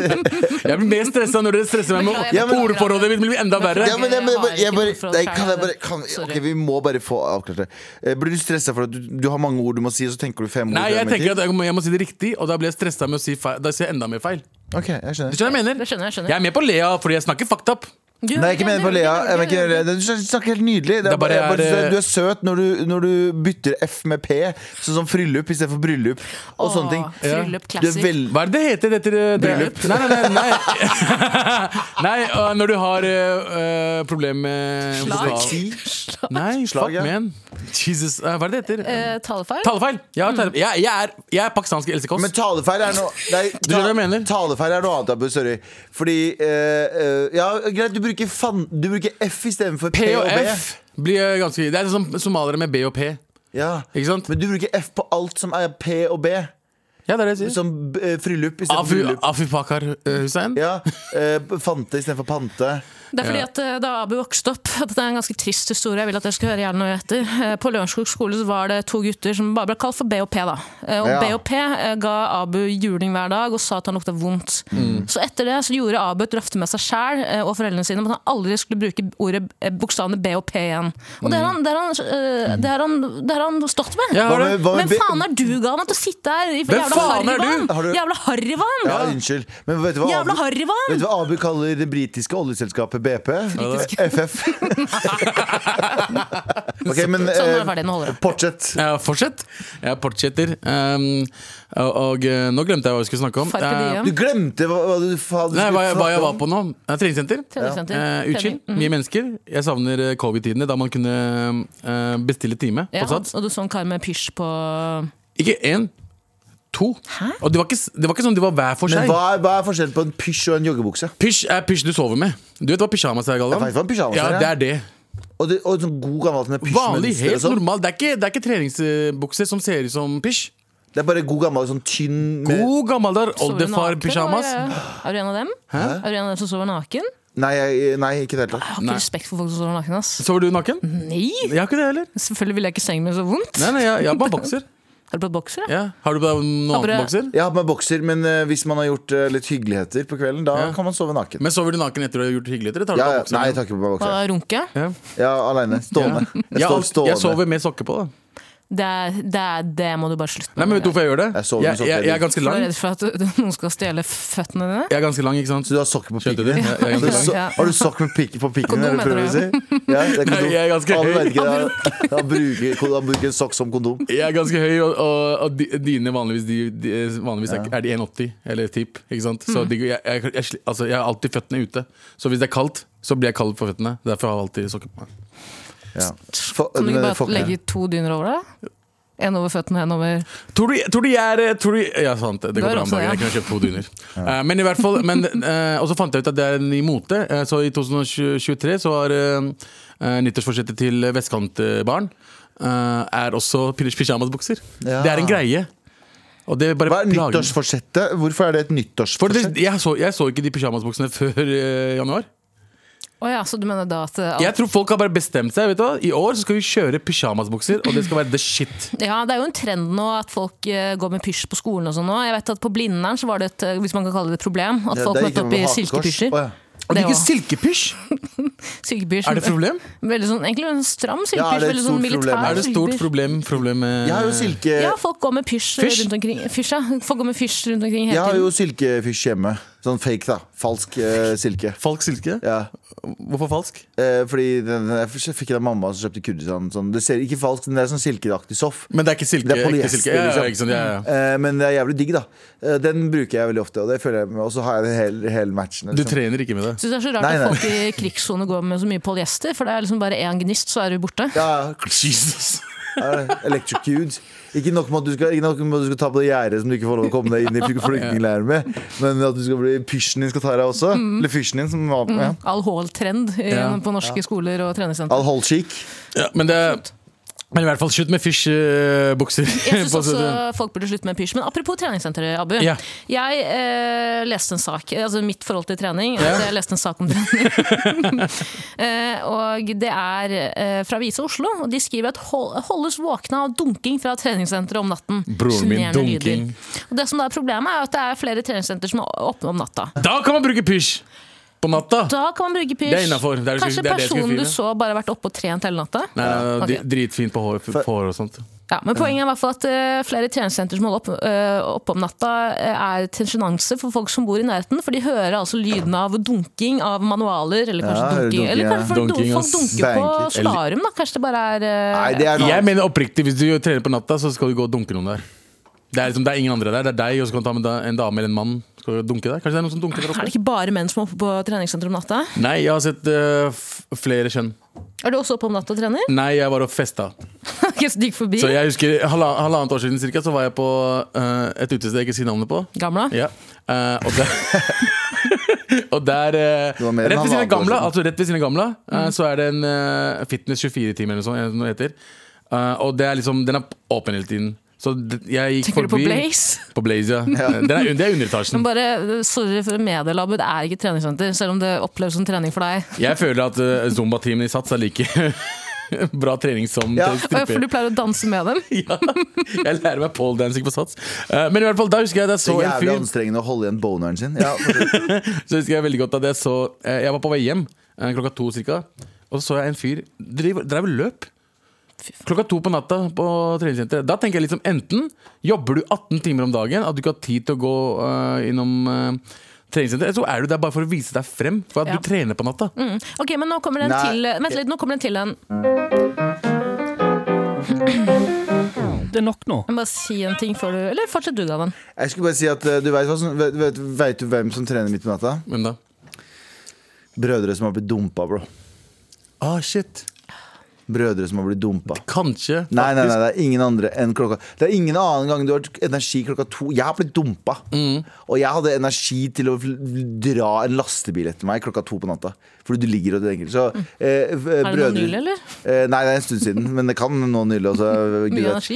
Speaker 4: <laughs> Jeg blir mer stressa når dere stresser meg med
Speaker 2: Ja, men-
Speaker 4: ordforrådet mitt. blir enda verre
Speaker 2: Ja, men, jeg, men jeg, bare- jeg,
Speaker 3: Jeg
Speaker 2: bare,
Speaker 3: har ikke noe forhold
Speaker 2: nei,
Speaker 3: til
Speaker 2: kan jeg
Speaker 3: det.
Speaker 2: bare kan, Ok,
Speaker 3: Sorry.
Speaker 2: Vi må bare få avklart det. Eh, Blir du stressa for at du, du har mange ord du må si, og så tenker du fem ord?
Speaker 4: Nei, jeg
Speaker 2: frem i
Speaker 4: tenker
Speaker 2: tid?
Speaker 4: at jeg må, jeg må si det riktig, og da blir jeg stressa med å si feil. Da sier jeg enda mer feil.
Speaker 2: Ok, jeg
Speaker 4: Du
Speaker 2: skjønner
Speaker 4: skjønner hva jeg mener?
Speaker 3: Det skjønner jeg, skjønner.
Speaker 4: Jeg er med på Lea, fordi jeg snakker fucked up.
Speaker 3: Du-
Speaker 2: Nei, jeg er ikke mener på Lea. Jeg mener ikke, Lea. du snakker helt nydelig. Det
Speaker 4: Det
Speaker 2: er
Speaker 4: er eh, bare
Speaker 2: bare, jeg bare,
Speaker 4: er,
Speaker 2: du er søt når du, når du bytter F med P, sånn som fryllup istedenfor bryllup. Og
Speaker 3: Åh,
Speaker 2: sånne ting. Du
Speaker 3: Fryllup
Speaker 2: er
Speaker 3: classic.
Speaker 2: vel...
Speaker 4: Hva er det det heter etter eh, bryllup? Nei, nei, nei. <laughs> Nei, nei øh, når du har eh, øh, problem med
Speaker 3: Slag?
Speaker 4: vokal- Nei,
Speaker 2: Slag,
Speaker 4: fuck
Speaker 2: ja.
Speaker 4: man. Jesus, eh, hva er det det heter?
Speaker 3: Eh, Talefeil?
Speaker 4: Talefeil! Jeg, har tale- jeg, jeg, er, jeg er pakistansk Else Kåss.
Speaker 2: Mm. Men talefeil er noe
Speaker 4: <laughs>
Speaker 2: nei,
Speaker 4: skjønner hva jeg mener?
Speaker 2: Talefeil er noe annet, Abu. Sorry. Fordi eh, eh, Ja, greit, du bruker, fan, du bruker F istedenfor
Speaker 4: P
Speaker 2: P
Speaker 4: og
Speaker 2: B.
Speaker 4: F blir eh, ganske Det er sånn som somaliere med B og P.
Speaker 2: Ja.
Speaker 4: Ikke sant?
Speaker 2: Men du bruker F på alt som er P og B.
Speaker 4: Ja, det er det jeg sier.
Speaker 2: Som eh, fryllup istedenfor
Speaker 4: Afu,
Speaker 2: bryllup.
Speaker 4: Afu Pakar eh, Hussein.
Speaker 2: Ja, eh, Fante istedenfor pante.
Speaker 3: Det er fordi at eh, Da Abu vokste opp <laughs> Dette er en ganske trist historie. Jeg vil at dere skal høre gjerne noe etter Eh, På Lørenskog skole så var det to gutter som bare ble kalt for BOP. da Eh, Og
Speaker 2: Ja.
Speaker 3: BOP eh, ga Abu juling hver dag og sa at han lukta vondt.
Speaker 4: Mm.
Speaker 3: Så etter det så gjorde Abu et løfte med seg sjæl og foreldrene sine om at han aldri skulle bruke ordet eh, bokstavene BOP igjen. Og det har han, det har han, eh, det har han, det har han stått med.
Speaker 4: Ja, har du-
Speaker 2: hva med
Speaker 3: Hvem
Speaker 2: B-
Speaker 3: faen er du, Galvan, til å sitte her i
Speaker 4: Hvem
Speaker 3: jævla
Speaker 4: faen er
Speaker 3: harryvann?
Speaker 2: du? Har du-
Speaker 3: Jævla harryvann!
Speaker 2: Ja, unnskyld. Men vet du hva
Speaker 3: Jævla
Speaker 2: Abu-
Speaker 3: harryvann!
Speaker 2: Vet du hva Abu kaller det britiske oljeselskapet BP? <laughs> FF.
Speaker 4: <laughs>
Speaker 2: ok, men
Speaker 3: Sånn
Speaker 2: eh,
Speaker 3: var det ferdig, nå holder det.
Speaker 2: fortsett.
Speaker 4: Ja, fortsett. Jeg fortsetter. Um, og og, eh, nå glemte jeg hva vi skulle snakke om.
Speaker 3: Farke
Speaker 4: Eh,
Speaker 3: Diem.
Speaker 2: Du glemte hva, hva du faen
Speaker 4: Nei, hva, jeg- hva jeg var
Speaker 2: om.
Speaker 4: på nå? Eh, Treningssenter.
Speaker 3: Treningssenter.
Speaker 4: Eh, Utskill. Mye mennesker. Jeg savner eh, covid-tidene, da man kunne eh, bestille time
Speaker 3: Ja,
Speaker 4: på Sats.
Speaker 3: og du så en kar med pysj på
Speaker 4: Ikke én, to.
Speaker 3: Hæ?
Speaker 4: Og det var, ikke, s- det var ikke sånn de var hver for
Speaker 2: Men
Speaker 4: seg.
Speaker 2: hva er, hva er forskjellen på en pysj og en joggebukse?
Speaker 4: Pysj er pysj du sover med. Du vet hva pysjamas er, Galvan?
Speaker 2: Jeg vet hva en pyjamas
Speaker 4: ja,
Speaker 2: er,
Speaker 4: det
Speaker 2: ja.
Speaker 4: er det.
Speaker 2: Og, det, og sånn god gammel sånn med
Speaker 4: Vanlig,
Speaker 2: pysjmønster og
Speaker 4: helt
Speaker 2: sånn.
Speaker 4: normal. Det er ikke, det er ikke treningsbukser som ser ut som pysj.
Speaker 2: Det er bare god gammel sånn tynn med,
Speaker 4: God gammeldag
Speaker 3: sover
Speaker 4: oldefar
Speaker 3: naken,
Speaker 4: pysjamas.
Speaker 3: eller? Er du en av dem? Er du en av dem som sover naken? Jeg
Speaker 2: nei, jeg- nei, ikke i det hele tatt.
Speaker 3: har ikke
Speaker 4: Nei.
Speaker 3: respekt for folk som sover naken. ass
Speaker 4: Sover du naken?
Speaker 3: Nei!
Speaker 4: Jeg har ikke det heller.
Speaker 3: Selvfølgelig vil jeg ikke sengen min så vondt.
Speaker 4: Nei, nei, jeg, jeg har bare bokser.
Speaker 3: Har du på bokser? da?
Speaker 4: Ja. Har du på deg noen
Speaker 3: Har
Speaker 4: annen
Speaker 3: dere-
Speaker 4: bokser?
Speaker 2: Jeg har på meg bokser, men eh, hvis man har gjort eh, litt hyggeligheter på kvelden, da
Speaker 4: Ja.
Speaker 2: kan man sove naken.
Speaker 4: Men sover du naken etter du har gjort hyggeligheter? eller Tar du
Speaker 2: Ja,
Speaker 4: på
Speaker 2: ja,
Speaker 4: bokser?
Speaker 2: nei, jeg tar ikke på meg
Speaker 3: Hva
Speaker 2: bokser.
Speaker 3: er runke?
Speaker 4: Ja.
Speaker 2: Ja, alene. Stående. Jeg
Speaker 4: Jeg,
Speaker 2: står
Speaker 4: alt- jeg
Speaker 2: stående.
Speaker 4: sover med sokker på. da
Speaker 3: Det, er, det, er, det må du bare slutte
Speaker 4: Nei, men Vet du hvorfor jeg gjør det?
Speaker 2: Jeg sover med
Speaker 4: jeg,
Speaker 2: sokker.
Speaker 4: jeg, jeg er
Speaker 3: For
Speaker 4: ganske
Speaker 3: du
Speaker 4: lang.
Speaker 3: er redd for at du- <laughs> noen skal stjele føttene dine?
Speaker 4: Jeg er ganske lang, ikke sant?
Speaker 2: Så du har sokker på
Speaker 4: Skjønte
Speaker 2: pikken din?
Speaker 4: du? Ja, jeg er
Speaker 2: Har du
Speaker 4: ganske
Speaker 2: so-
Speaker 3: lang.
Speaker 2: Har du sokk med pikk på pikken?
Speaker 3: Kondom,
Speaker 2: er det du prøver å
Speaker 3: heter
Speaker 2: si? Ja, det er kondom.
Speaker 4: Nei, jeg er ganske
Speaker 2: Han
Speaker 4: høy.
Speaker 2: vet ikke det. Han bruker, han bruker en sokk som kondom.
Speaker 4: Jeg er ganske høy, og, og, og di- dine vanligvis, de, de, vanligvis er, er de 1,80 eller tipp. Ikke sant?
Speaker 3: Mhm.
Speaker 4: Så de, jeg, jeg, jeg, sli- altså, jeg har alltid føttene ute. Så hvis det er kaldt, så blir jeg kald på føttene. Derfor har jeg alltid sokker på meg.
Speaker 2: Ja.
Speaker 3: Kan du ikke bare
Speaker 2: Fuck det.
Speaker 3: legge to dyner over deg? En over føttene, en over
Speaker 4: Tror du, tror du jeg er eh, tror du, Ja, sant. Det
Speaker 3: Du
Speaker 4: går
Speaker 3: er
Speaker 4: bra om
Speaker 3: også,
Speaker 4: dagen.
Speaker 3: ja.
Speaker 4: Jeg kunne kjøpt to
Speaker 3: <laughs>
Speaker 4: dyner. Eh, men i hvert fall men, eh, Og så fant jeg ut at det er en ny mote. Eh, så i 2023 så var eh, eh, nyttårsforsettet til vestkantbarn eh, er også pysjamasbukser.
Speaker 2: Ja.
Speaker 4: Det er en greie. Og det bare
Speaker 2: Hva er
Speaker 4: plager meg.
Speaker 2: nyttårsforsettet? Hvorfor er det et
Speaker 4: For det,
Speaker 2: nyttårsforsett?
Speaker 4: jeg, så, jeg så ikke de pysjamasbuksene før eh, januar.
Speaker 3: Å ja, så du mener da at eh,
Speaker 4: Jeg tror folk har bare bestemt seg. vet du hva? I år så skal vi kjøre pysjamasbukser, og det skal være the shit.
Speaker 3: Ja, Det er jo en trend nå at folk eh, går med pysj på skolen. og sånn nå. Jeg vet at På Blindern så var det et eh, hvis man kan kalle det et problem, at folk
Speaker 2: der gikk
Speaker 3: møtte
Speaker 2: man
Speaker 3: opp i
Speaker 2: med hakekors.
Speaker 3: silkepysjer.
Speaker 2: Å, ja.
Speaker 4: Og
Speaker 3: Det
Speaker 4: det er ikke
Speaker 3: også.
Speaker 4: silkepysj!
Speaker 3: Silkepysj.
Speaker 4: Er det et problem?
Speaker 3: Veldig sånn, egentlig en stram
Speaker 2: Ja,
Speaker 3: silkepysj.
Speaker 2: er det et
Speaker 3: veldig sånn
Speaker 2: stort
Speaker 3: militær
Speaker 2: problem?
Speaker 4: Er det stort
Speaker 3: silkepysj.
Speaker 4: problem? problem eh? med-
Speaker 2: Jeg har jo silke...
Speaker 3: Eh, Ja, folk går med pysj
Speaker 4: Fysj?
Speaker 3: rundt omkring. Fysj, ja. Folk går med pysj rundt omkring
Speaker 2: Jeg
Speaker 3: hele
Speaker 2: har
Speaker 3: tiden.
Speaker 2: jo silkefysj hjemme. Sånn fake, da. Falsk eh, silke.
Speaker 4: Falsk silke?
Speaker 2: Ja.
Speaker 4: Hvorfor falsk?
Speaker 2: Eh, fordi den, jeg fikk den av mamma som kjøpte i Kurdistan. Sånn. Det ser ikke falskt men det er sånn silkeaktig stoff.
Speaker 4: Men det er ikke silke.
Speaker 2: Det er
Speaker 4: ekte
Speaker 2: polyester,
Speaker 4: silke. Ja, ja,
Speaker 2: liksom.
Speaker 4: ikke sant, ja, ja.
Speaker 2: Eh, men det er jævlig digg, da. Eh, den bruker jeg veldig ofte, og det føler jeg med. Og så har jeg den hele, hele matchen.
Speaker 4: Du
Speaker 2: liksom.
Speaker 4: trener ikke med det.
Speaker 3: Synes det er så rart
Speaker 2: Nei, nei.
Speaker 3: at folk i krigssone går med så mye polyester, for det er liksom bare én gnist, så er du borte.
Speaker 2: Ja,
Speaker 4: <laughs> Jesus!
Speaker 2: Er det Electrocute. Ikke nok med at du skal, ikke nok med at du skal ta på det gjerdet som du ikke får lov å komme deg inn i
Speaker 4: <laughs>
Speaker 2: flyktningleiren med, men at du skal bli pysjen din skal ta deg også.
Speaker 3: Mm.
Speaker 2: Eller pysjen din, som var ja.
Speaker 3: Alkoholtrend i-
Speaker 4: Ja.
Speaker 3: eh, på norske skoler og treningssentre.
Speaker 2: Al Holshik.
Speaker 4: Ja, men det men i hvert fall slutt med fysj-bukser. <laughs> sånn
Speaker 3: Jeg syns også folk burde slutte med pysj. Men apropos treningssenteret, Abu.
Speaker 4: Ja.
Speaker 3: Jeg eh, leste en sak Altså mitt forhold til trening. er
Speaker 4: Ja.
Speaker 3: at Jeg leste en sak om trening. <laughs> eh, og det er eh, fra Vise Oslo. Og de skriver at hol- holdes våkne av dunking fra treningssenteret om natten.
Speaker 4: Broren min,
Speaker 3: Sjenerende lyder.
Speaker 4: dunking.
Speaker 3: Og det som da er problemet, er at det er flere treningssenter som er åpne om natta.
Speaker 4: Da kan man bruke pysj! På natta.
Speaker 3: Da kan man bruke pysj.
Speaker 4: Det er innenfor. Det er det-
Speaker 3: Kanskje
Speaker 4: det er det jeg skulle
Speaker 3: personen du
Speaker 4: fine.
Speaker 3: så bare har vært oppe og trent hele natta?
Speaker 4: Nei, nei, nei,
Speaker 3: Ok.
Speaker 4: dri- Dritfint på hår, på hår og sånt.
Speaker 3: Ja, men poenget er i hvert fall at eh, flere tjenestesenter som holder opp, eh, oppe om natta, eh, er til sjenanse for folk som bor i nærheten. For de hører altså lyden av dunking av manualer, eller kanskje
Speaker 2: Ja, hører
Speaker 3: dunking
Speaker 2: dunking,
Speaker 3: Eller kanskje folk,
Speaker 4: Dunking og
Speaker 3: folk dunker på
Speaker 2: banking.
Speaker 3: slalåm, da. Kanskje det bare er eh,
Speaker 2: Nei, det er noe
Speaker 4: Jeg mener oppriktig, hvis du trener på natta, så skal du gå og dunke noen der. Det er, liksom, det er ingen andre der. Det er deg, og så kan du ta med da- en dame eller en mann. Skal du dunke der? Kanskje det er noen som dunker der
Speaker 3: Er det
Speaker 4: oppe?
Speaker 3: ikke bare menn som er oppe på treningssenteret om natta?
Speaker 4: Nei, jeg har sett eh, f flere kjønn.
Speaker 3: Er du også oppe om natta og trener? <laughs>
Speaker 4: Nei, jeg var og festa.
Speaker 3: Ikke så digg forbi.
Speaker 4: Så jeg husker halva, halvannet år siden cirka, så var jeg på eh, et utested jeg ikke sier navnet på.
Speaker 3: Gamla?
Speaker 4: Ja. Eh, og der, <laughs> og der eh,
Speaker 2: var mer enn
Speaker 4: rett, ved siden av
Speaker 2: halvannet år
Speaker 4: gamla,
Speaker 2: siden.
Speaker 4: altså rett ved siden av gamla,
Speaker 3: Mm.
Speaker 4: eh, så er det en eh, Fitness 24-time eller noe sånt. eller noe det heter. Eh, og det er liksom, den er åpen hele tiden. Så d- jeg gikk
Speaker 3: Tenker du på
Speaker 4: forbi-
Speaker 3: Blaze? <laughs>
Speaker 4: På Blaze, ja. Den er, un- det er underetasjen.
Speaker 3: Men bare, eh, Sorry for medielabben, det er ikke et treningssenter, selv om det oppleves som trening for deg.
Speaker 4: Jeg føler at eh, Zumba-teamen i Sats er like <laughs> bra trening som
Speaker 2: Ja.
Speaker 3: Å
Speaker 4: til
Speaker 3: ja,
Speaker 4: strippe.
Speaker 3: <laughs> For du pleier å danse med dem?
Speaker 4: <laughs> Ja. Jeg lærer meg poledancing på Sats. Eh, Men i hvert fall, da husker jeg at jeg så
Speaker 2: så
Speaker 4: en
Speaker 2: jævlig
Speaker 4: fyr
Speaker 2: anstrengende å holde igjen boneren sin. Ja, for-
Speaker 4: Så husker jeg veldig godt at jeg så eh, Jeg var på vei hjem eh, klokka to cirka Og så så jeg en fyr Drev, drev og løp Klokka to på natta på treningssenteret Da tenker jeg liksom Enten jobber du 18 timer om dagen At du ikke har tid til å gå eh, innom uh, treningssenteret Eller så er du der bare for å vise deg frem For at
Speaker 3: Ja.
Speaker 4: du trener på natta
Speaker 3: Ok, men nå kommer det en
Speaker 2: Nei.
Speaker 3: til eh, Vent litt, nå kommer det en til en.
Speaker 6: Det er nok nå.
Speaker 3: Jeg må bare si en ting før du Eller fortsett du, Galvan.
Speaker 2: Jeg skulle bare si at eh, du vet, hva som, vet, vet, vet du hvem som trener midt på natta?
Speaker 4: Men da
Speaker 2: Brødre som har blitt dumpa, bro.
Speaker 4: Ah shit
Speaker 2: Brødre som har blitt dumpa.
Speaker 4: Kanskje
Speaker 2: Nei, nei, nei,
Speaker 4: faktisk.
Speaker 2: det er ingen andre enn klokka Det er ingen annen gang du har hatt energi klokka to. Jeg har blitt dumpa.
Speaker 3: Mm.
Speaker 2: Og jeg hadde energi til å dra en lastebil etter meg klokka to på natta. Fordi du ligger og tenker. Så eh, eh, brødre
Speaker 3: Mm. Er det noe nylig, eller?
Speaker 2: Eh, nei, det er en stund siden, men det kan nå nylig også. eh, Gud
Speaker 3: Mye
Speaker 2: vet.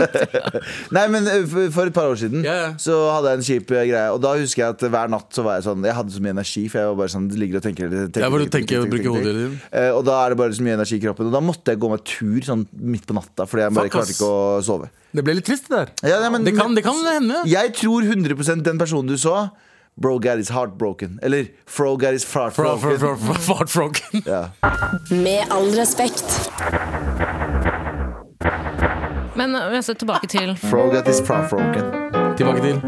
Speaker 3: energi.
Speaker 2: Nei, <laughs> men eh, for- for et par år siden
Speaker 4: Ja, ja.
Speaker 2: Så hadde jeg en kjip eh, greie. Og da husker jeg at hver natt så var jeg sånn Jeg hadde så mye energi, for jeg var bare sånn ligger og tenker. tenker
Speaker 4: Ja, hvor du tenker og bruker hodet ditt.
Speaker 2: Eh, Og da er det bare så mye energi i kroppen. Og da måtte jeg gå meg tur sånn midt på natta, fordi jeg bare
Speaker 4: Fuck, ass.
Speaker 2: klarte ikke å sove.
Speaker 4: Det ble litt trist det der
Speaker 2: Ja, nei, men-
Speaker 4: det, kan, det kan hende
Speaker 2: Jeg tror 100 den personen du så Bro Gad is heartbroken. Eller Fro Gad is fart
Speaker 4: Fra- fra-
Speaker 2: broken.
Speaker 4: fra- fra- Fart Froggen.
Speaker 1: Med all respekt.
Speaker 3: Men øh, jeg ser tilbake til
Speaker 2: Fro Gad is fart broken.
Speaker 4: Tilbake til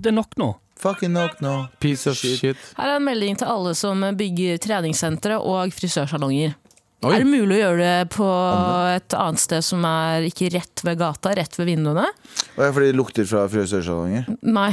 Speaker 6: Det er nok nå.
Speaker 2: Fucking knock no.
Speaker 4: Piece of shit
Speaker 3: Her er en melding til alle som bygger treningssentre og frisørsalonger.
Speaker 4: Oi.
Speaker 3: Er det mulig å gjøre det på et annet sted som er ikke rett ved gata, rett ved vinduene?
Speaker 2: Og det er fordi det lukter fra frisørsalonger.
Speaker 3: Nei.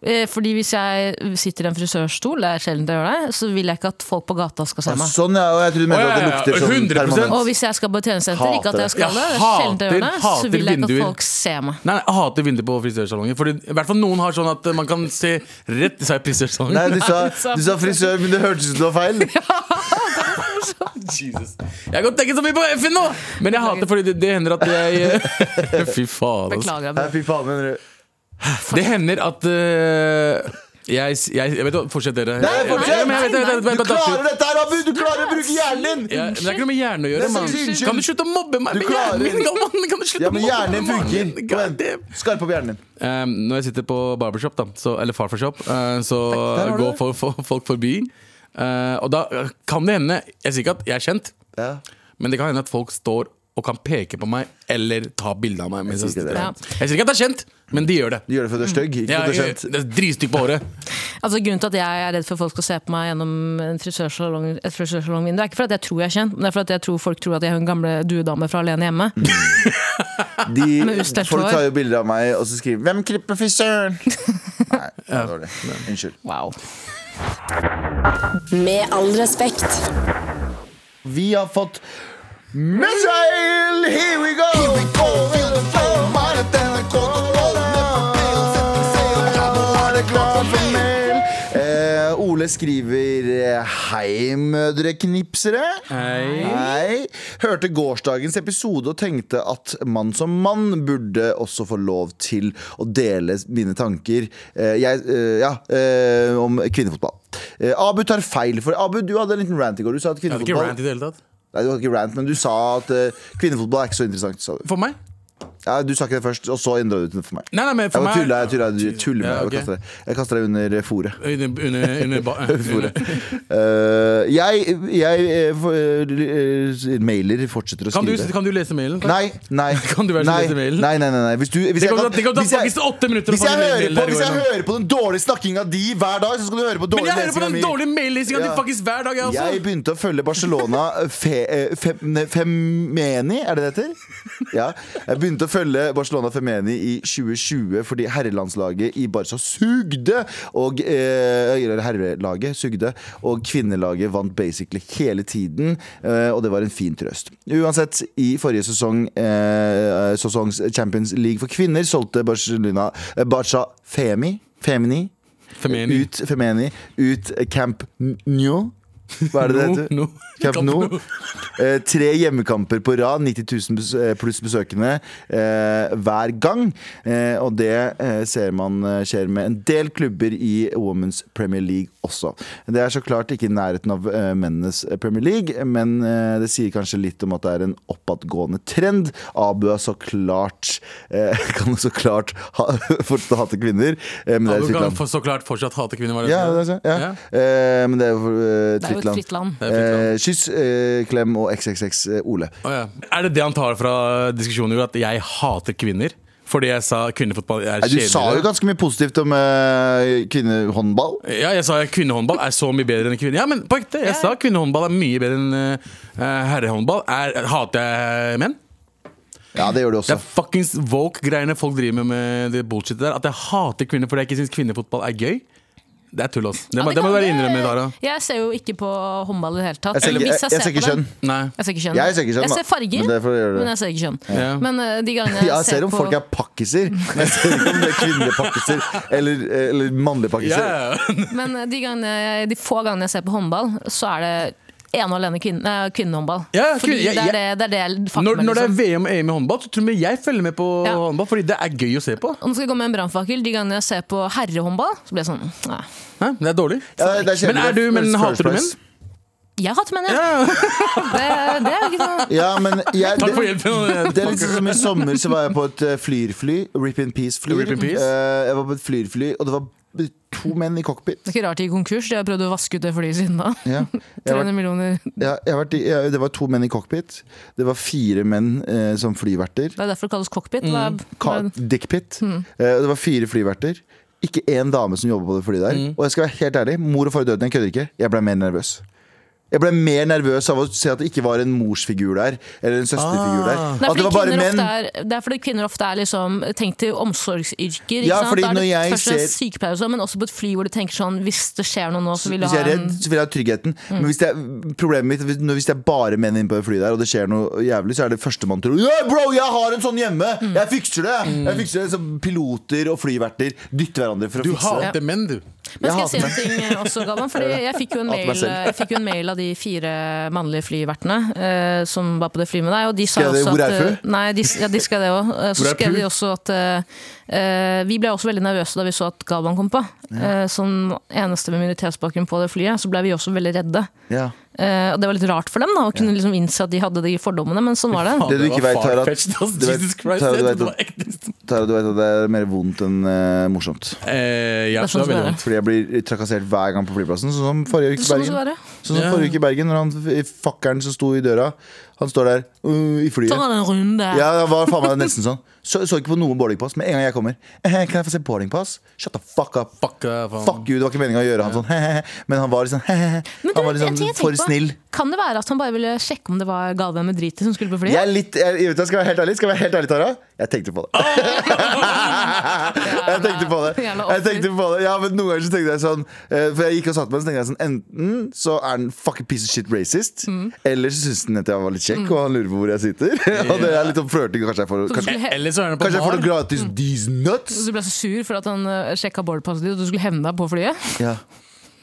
Speaker 3: Eh, Fordi hvis jeg sitter i en frisørstol, det er sjelden jeg gjør det, så vil jeg ikke at folk på gata skal se meg.
Speaker 2: Sånn, ja. Og jeg trodde du mente
Speaker 4: Å, ja,
Speaker 2: at det
Speaker 4: ja, ja.
Speaker 2: lukter sånn
Speaker 4: 100%.
Speaker 2: permanent.
Speaker 3: Og hvis jeg skal på et tjenestesenter, ikke at jeg skal det, det
Speaker 4: Hater det.
Speaker 3: er sjelden jeg gjør det,
Speaker 4: Jeg hater-
Speaker 3: så vil jeg ikke
Speaker 4: hater
Speaker 3: at folk ser meg.
Speaker 4: Nei, nei, jeg hater vinduer på frisørsalonger. Fordi i hvert fall noen har sånn at eh, man kan se rett Sa jeg frisørsalong?
Speaker 2: Nei, du sa, du sa frisør, men det hørtes ut som det var <laughs> feil.
Speaker 4: Jesus. Jeg har godt tenkt så mye på F-en nå! Men jeg hater fordi det, det hender at jeg eh, Fy faen, altså.
Speaker 3: Beklager.
Speaker 2: Nei,
Speaker 3: Abu.
Speaker 2: Fy faen, mener du.
Speaker 4: Det hender at eh, jeg, jeg, jeg vet hva, Fortsett, dere.
Speaker 2: Nei, fortsett!
Speaker 4: Ja, men jeg vet- jeg vet- jeg
Speaker 2: Du
Speaker 4: vet- jeg vet- jeg
Speaker 2: klarer
Speaker 4: vet-
Speaker 2: dette her, Abu! Du klarer å bruke hjernen din!
Speaker 4: Ja, men det er ikke noe med hjernen å gjøre.
Speaker 2: Det er
Speaker 4: Man.
Speaker 2: så unnskyld.
Speaker 4: Kan du slutte å mobbe meg
Speaker 2: Du
Speaker 4: med
Speaker 2: klarer.
Speaker 4: hjernen min? Galvan? Kan du slutte
Speaker 2: Ja,
Speaker 4: å
Speaker 2: men
Speaker 4: mobbe
Speaker 2: hjernen din
Speaker 4: meg?
Speaker 2: funker. Kom
Speaker 4: God
Speaker 2: igjen.
Speaker 4: damn.
Speaker 2: Skarp opp hjernen din.
Speaker 4: Um, når jeg sitter på barbershop, da, så, eller farfarshop, uh, så
Speaker 2: har du
Speaker 4: går
Speaker 2: det.
Speaker 4: for, for, folk forbi. Uh, og da uh, kan det hende Jeg sier ikke at jeg er kjent,
Speaker 2: Ja.
Speaker 4: men det kan hende at folk står og kan peke på meg eller ta bilde av meg. mens
Speaker 2: Jeg sier ikke
Speaker 4: sitter
Speaker 2: det.
Speaker 4: der. Jeg sier ikke at det er kjent, men de gjør det.
Speaker 2: Du gjør det fordi du er stygg, ikke
Speaker 4: Jeg,
Speaker 2: fordi du er
Speaker 4: jeg,
Speaker 2: kjent.
Speaker 4: det er Dritstykk på håret.
Speaker 3: Altså, grunnen til at jeg er redd for at folk skal se på meg gjennom en frisørsalong, et frisørsalongvindu, er ikke fordi jeg tror jeg er kjent, men det er fordi jeg tror folk tror at jeg er hun gamle duedame fra Alene hjemme.
Speaker 4: Mm.
Speaker 2: De,
Speaker 3: Med ustelt
Speaker 2: folk
Speaker 3: hår.
Speaker 2: tar jo bilder av meg og så skriver 'Hvem klipper <laughs> frisøren?' Nei, det var dårlig. Unnskyld.
Speaker 3: Wow.
Speaker 1: Med all respekt.
Speaker 2: Vi har fått Missile! Here we go!
Speaker 7: Here we go, feel the flow. Mer at NRK.no. Never fail, sett en seil. Ja, nå er det klart for mer.
Speaker 2: Eh, Ole skriver eh, Hei, mødre knipsere.
Speaker 4: Hei.
Speaker 2: Hei. Hørte gårsdagens episode og tenkte at man som mann burde også få lov til å dele mine tanker eh, jeg, eh, ja, eh, om kvinnefotball. Eh, Abu tar feil, for Abu, du hadde en liten rant i går. Du sa at
Speaker 4: Jeg hadde ikke
Speaker 2: kvinnefotball
Speaker 4: rant i det hele tatt.
Speaker 2: Nei, du hadde ikke rant, men du sa at eh, kvinnefotball er ikke så interessant. Sa du.
Speaker 4: For meg?
Speaker 2: Ja, Ja, du sa ikke det først, og så endra du den for meg.
Speaker 4: Nei, nei, men
Speaker 2: Jeg
Speaker 4: for
Speaker 2: bare
Speaker 4: meg
Speaker 2: tulla, jeg tulla, du tuller med
Speaker 4: Ja,
Speaker 2: meg.
Speaker 4: ok.
Speaker 2: Jeg kaster deg- Jeg kaster deg under eh,
Speaker 4: <laughs>
Speaker 2: fòret.
Speaker 4: Under, under, under, ba-
Speaker 2: <laughs> Fore. Eh, jeg jeg eh, for- eh, mailer fortsetter å
Speaker 4: Kan du,
Speaker 2: skrive.
Speaker 4: kan du lese mailen?
Speaker 2: Nei, nei.
Speaker 4: <laughs> Kan du være så
Speaker 2: nei,
Speaker 4: lese mailen?
Speaker 2: Nei, nei, nei, nei. Hvis du hvis
Speaker 4: Det
Speaker 2: jeg
Speaker 4: kan,
Speaker 2: kan-
Speaker 4: det kan ta
Speaker 2: hvis jeg-
Speaker 4: faktisk åtte minutter å
Speaker 2: hvis
Speaker 4: få
Speaker 2: jeg,
Speaker 4: en mail
Speaker 2: hører på,
Speaker 4: der,
Speaker 2: hvis jeg
Speaker 4: Gordon.
Speaker 2: hører på den dårlige snakkinga di hver dag, så skal du høre på
Speaker 4: Men
Speaker 2: dårlig
Speaker 4: jeg hører på
Speaker 2: lesinga
Speaker 4: den
Speaker 2: mi.
Speaker 4: dårlige maillesinga di
Speaker 2: Ja.
Speaker 4: faktisk hver dag, jeg også.
Speaker 2: Jeg begynte å følge Barcelona fe, eh, fem, ne, Femeni, er det det heter? Ja. Jeg begynte å følge Barcelona Femeni i 2020 fordi herrelandslaget i Barca sugde. Og, eh, eller herrelaget sugde, og kvinnelaget vant basically hele tiden. Eh, og det var en fin trøst. Uansett, i forrige sesong, eh, sesongs Champions League for kvinner, solgte Barcelona eh, Barca Femi. Femini
Speaker 4: Femeni.
Speaker 2: ut Femeni, ut eh, Camp Nou. Hva er det det
Speaker 4: No,
Speaker 2: heter?
Speaker 4: no.
Speaker 2: Camp
Speaker 4: Camp
Speaker 2: Nou.
Speaker 4: Nou.
Speaker 2: <laughs> Eh, tre hjemmekamper på rad, 90 000 bes eh, pluss besøkende eh, hver gang. Eh, og det eh, ser man eh, skjer med en del klubber i Women's Premier League også. Det er så klart ikke i nærheten av eh, mennenes Premier League, men eh, det sier kanskje litt om at det er en oppadgående trend. Abu er så klart eh, <laughs> kan så klart ha, fortsatt hate kvinner, eh, men det er
Speaker 4: Du
Speaker 2: sitt
Speaker 4: kan
Speaker 2: land.
Speaker 4: for så klart fortsatt hate kvinner. var det
Speaker 2: Ja,
Speaker 4: det?
Speaker 2: det er sånn. Ja.
Speaker 4: Ja.
Speaker 2: Eh, men det er jo eh,
Speaker 3: Det er jo
Speaker 2: fritt
Speaker 3: et
Speaker 2: land.
Speaker 3: fritt land.
Speaker 4: Det er fritt land.
Speaker 2: Eh, kyss, eh, klem og XXX eh, Ole.
Speaker 4: Å ja. Er det det han tar fra diskusjonen, Jord, at jeg hater kvinner? Fordi jeg sa kvinnefotball er
Speaker 2: Nei, du
Speaker 4: kjedeligere?
Speaker 2: sa jo ganske mye positivt om eh, kvinnehåndball.
Speaker 4: Ja, jeg sa kvinnehåndball er så mye bedre enn kvinne... Ja, men på ekte, jeg sa kvinnehåndball er mye bedre enn eh, herrehåndball. Er, hater jeg menn?
Speaker 2: Ja, det gjør du
Speaker 4: Det
Speaker 2: også.
Speaker 4: er fuckings woke-greiene folk driver med med det bullshitet der. At jeg hater kvinner fordi jeg ikke syns kvinnefotball er gøy. Det er tull, ass. Det,
Speaker 3: Ja,
Speaker 4: må- det må
Speaker 3: kan
Speaker 4: du være
Speaker 3: det-
Speaker 4: innrømme, Dara.
Speaker 3: Jeg ser jo ikke på håndball i det hele tatt.
Speaker 2: Jeg ser
Speaker 3: Eller
Speaker 2: ikke,
Speaker 3: hvis
Speaker 2: jeg, jeg ser ikke
Speaker 3: på den-
Speaker 2: kjønn.
Speaker 4: Nei.
Speaker 3: Jeg ser ikke kjønn.
Speaker 2: Jeg ser ikke kjønn,
Speaker 3: Jeg
Speaker 2: da.
Speaker 3: ser farger,
Speaker 2: Men det er for å gjøre det.
Speaker 3: men jeg ser ikke kjønn.
Speaker 4: Ja.
Speaker 3: Men eh, de gangene
Speaker 2: Ja, jeg ser om
Speaker 3: på
Speaker 2: folk er
Speaker 3: <laughs>
Speaker 2: pakkiser. Jeg ser ikke om det er kvinnelige pakkiser eller, eh, eller mannlige pakkiser.
Speaker 4: Ja, <laughs> ja.
Speaker 3: Men eh, de, gangene, de få gangene jeg ser på håndball, så er det ene og alene kvinne, eh, kvinnehåndball.
Speaker 4: Ja,
Speaker 3: Fordi
Speaker 4: kvinne- jeg-
Speaker 3: det, er det,
Speaker 4: jeg-
Speaker 3: det er det jeg fucker
Speaker 4: Når,
Speaker 3: med.
Speaker 4: når det er
Speaker 3: Liksom.
Speaker 4: VM og EM i håndball, så tror jeg jeg følger med på
Speaker 3: Ja.
Speaker 4: håndball. Fordi det er gøy å se på.
Speaker 3: Og nå skal jeg komme med en brannfakkel. De gangene jeg ser på herrehåndball, så blir jeg sånn nei.
Speaker 4: Hæ? Det er dårlig.
Speaker 2: Ja, det er kjedelig.
Speaker 4: men er du, men
Speaker 2: First
Speaker 4: hater du menn?
Speaker 2: place.
Speaker 3: Jeg hater menn, jeg. <laughs> Det, det er jo ikke noe
Speaker 2: Ja, men jeg,
Speaker 4: Takk for
Speaker 2: det,
Speaker 4: <laughs> hjelpen.
Speaker 2: det er litt sånn som i sommer så var jeg på et eh, flyrfly. Rip in peace-fly.
Speaker 4: Rip in peace.
Speaker 2: Eh, jeg var på et flyrfly, og det var to menn i cockpit.
Speaker 3: Det er ikke rart de gikk konkurs. De har prøvd å vaske ut det flyet siden da.
Speaker 2: Ja. Jeg var
Speaker 3: 300 millioner.
Speaker 2: Ja, jeg har vært i, ja, det var to menn i cockpit. Det var fire menn eh, som flyverter.
Speaker 3: Det er derfor det kalles cockpit. Hva
Speaker 2: Mm.
Speaker 3: er- hva er-
Speaker 2: Dickpit.
Speaker 3: Hmm.
Speaker 2: Eh, og det var fire flyverter. Ikke én dame som jobber på det flyet
Speaker 4: Hmm.
Speaker 2: der. Og jeg skal være helt ærlig, mor og far i døden, jeg kødder ikke. Jeg ble mer nervøs. Jeg ble mer nervøs av å se at det ikke var en morsfigur der, eller en
Speaker 4: Ah.
Speaker 2: søsterfigur der.
Speaker 3: Det er,
Speaker 2: At det var
Speaker 3: fordi
Speaker 2: bare
Speaker 3: kvinner
Speaker 2: menn.
Speaker 3: ofte er, det er fordi kvinner ofte er liksom, tenkt til omsorgsyrker.
Speaker 2: Ja,
Speaker 3: ikke sant?
Speaker 2: fordi
Speaker 3: Da er det
Speaker 2: når jeg
Speaker 3: først og fremst
Speaker 2: ser-
Speaker 3: sykepleiere, og sånn, men også på et fly hvor du tenker sånn Hvis det skjer noe nå, så vil du
Speaker 2: Hvis jeg er
Speaker 3: ha en Mm.
Speaker 2: redd, så vil jeg ha tryggheten. Men hvis det er, problemet mitt hvis- når- hvis det er bare menn inne på det flyet der, og det skjer noe jævlig, så er det førstemann til å yeah, Bro, jeg har en sånn hjemme!
Speaker 3: Mm.
Speaker 2: Jeg fikser det! Jeg fikser det Så piloter og flyverter dytter hverandre for å
Speaker 4: Du
Speaker 2: fikse det.
Speaker 4: hater menn, du.
Speaker 3: Men skal
Speaker 2: Jeg
Speaker 3: jeg si en ting eh, også,
Speaker 2: <laughs>
Speaker 3: Galvan? Fordi jeg fikk jo en
Speaker 2: Hater meg
Speaker 3: mail,
Speaker 2: selv.
Speaker 3: jeg fikk jo en mail av de fire mannlige flyvertene eh, som var på det flyet med deg, og de sa
Speaker 2: Skrev de,
Speaker 3: også
Speaker 2: "Hvor
Speaker 3: at
Speaker 2: er
Speaker 3: eh,
Speaker 2: fru?"
Speaker 3: Nei, de, ja, de skrev det òg.
Speaker 4: Hvor
Speaker 3: Så
Speaker 4: er
Speaker 3: skrev
Speaker 4: fru?
Speaker 3: de også at eh, eh, Vi ble også veldig nervøse da vi så at Galvan kom på. Eh, Som eneste med minoritetsbakgrunn på det flyet, så ble vi også veldig redde.
Speaker 2: Ja.
Speaker 3: Eh, og det var litt rart for dem da, å kunne liksom innse at de hadde de fordommene, men sånn var det.
Speaker 2: Det du ikke vet, Tara,
Speaker 4: ass.
Speaker 2: du vet-
Speaker 4: Jesus Christ,
Speaker 2: Tara, du
Speaker 4: jeg
Speaker 2: vet
Speaker 4: trodde det
Speaker 2: at-
Speaker 4: var ekte.
Speaker 2: Tara, du vet at det er mer vondt enn eh, morsomt.
Speaker 4: Eh, Ja,
Speaker 3: Det er sånn som
Speaker 4: det var veldig
Speaker 3: det er.
Speaker 4: vondt.
Speaker 2: Fordi jeg blir trakassert hver gang på flyplassen, sånn som forrige uke i
Speaker 3: Sånn skal det
Speaker 2: Bergen.
Speaker 3: være.
Speaker 2: Sånn som forrige uke i Bergen, når han f- fakkeren som sto i døra, han står der uh, i flyet.
Speaker 3: Ta en runde.
Speaker 2: Ja, det var faen meg nesten sånn. Så, så ikke på noe boardingpass, men en gang jeg kommer «Eh, Kan jeg få se boardingpass? Shut the fuck up.
Speaker 4: Fuck, eh, faen.
Speaker 2: Fuck you, det var ikke meningen å gjøre han sånn «Hehehe», Men han var liksom «Hehehe».
Speaker 3: Men du,
Speaker 2: Han var
Speaker 3: en ting jeg
Speaker 2: liksom
Speaker 3: tenker
Speaker 2: for
Speaker 3: på,
Speaker 2: snill.
Speaker 3: Kan det være at han bare ville sjekke om det var Galvan med dritet som skulle på
Speaker 2: Jeg
Speaker 3: flyet?
Speaker 2: er litt, jeg, jeg vet, jeg skal jeg være helt ærlig, skal jeg være helt ærlig, Tara. Jeg tenkte på det. <laughs> jeg tenkte på det.
Speaker 3: Jævla
Speaker 2: Jeg tenkte på det. Ja, men noen ganger så tenkte jeg sånn eh, For jeg gikk og satte meg, så tenkte jeg sånn Enten så er han fucking piece of shit racist,
Speaker 3: Mm.
Speaker 2: eller så syns han at jeg var litt kjekk, og han lurer på hvor jeg sitter. <laughs> og det er litt om flørting, og kanskje jeg får kanskje,
Speaker 3: skulle he-
Speaker 4: Eller så er det på Mm.
Speaker 2: kanskje jeg får
Speaker 4: Mar.
Speaker 2: noe gratis these nuts.
Speaker 3: Så du ble så sur for at han eh, sjekka
Speaker 4: <laughs>
Speaker 3: boardpasset ditt, og du skulle hevne deg på flyet?
Speaker 2: Ja.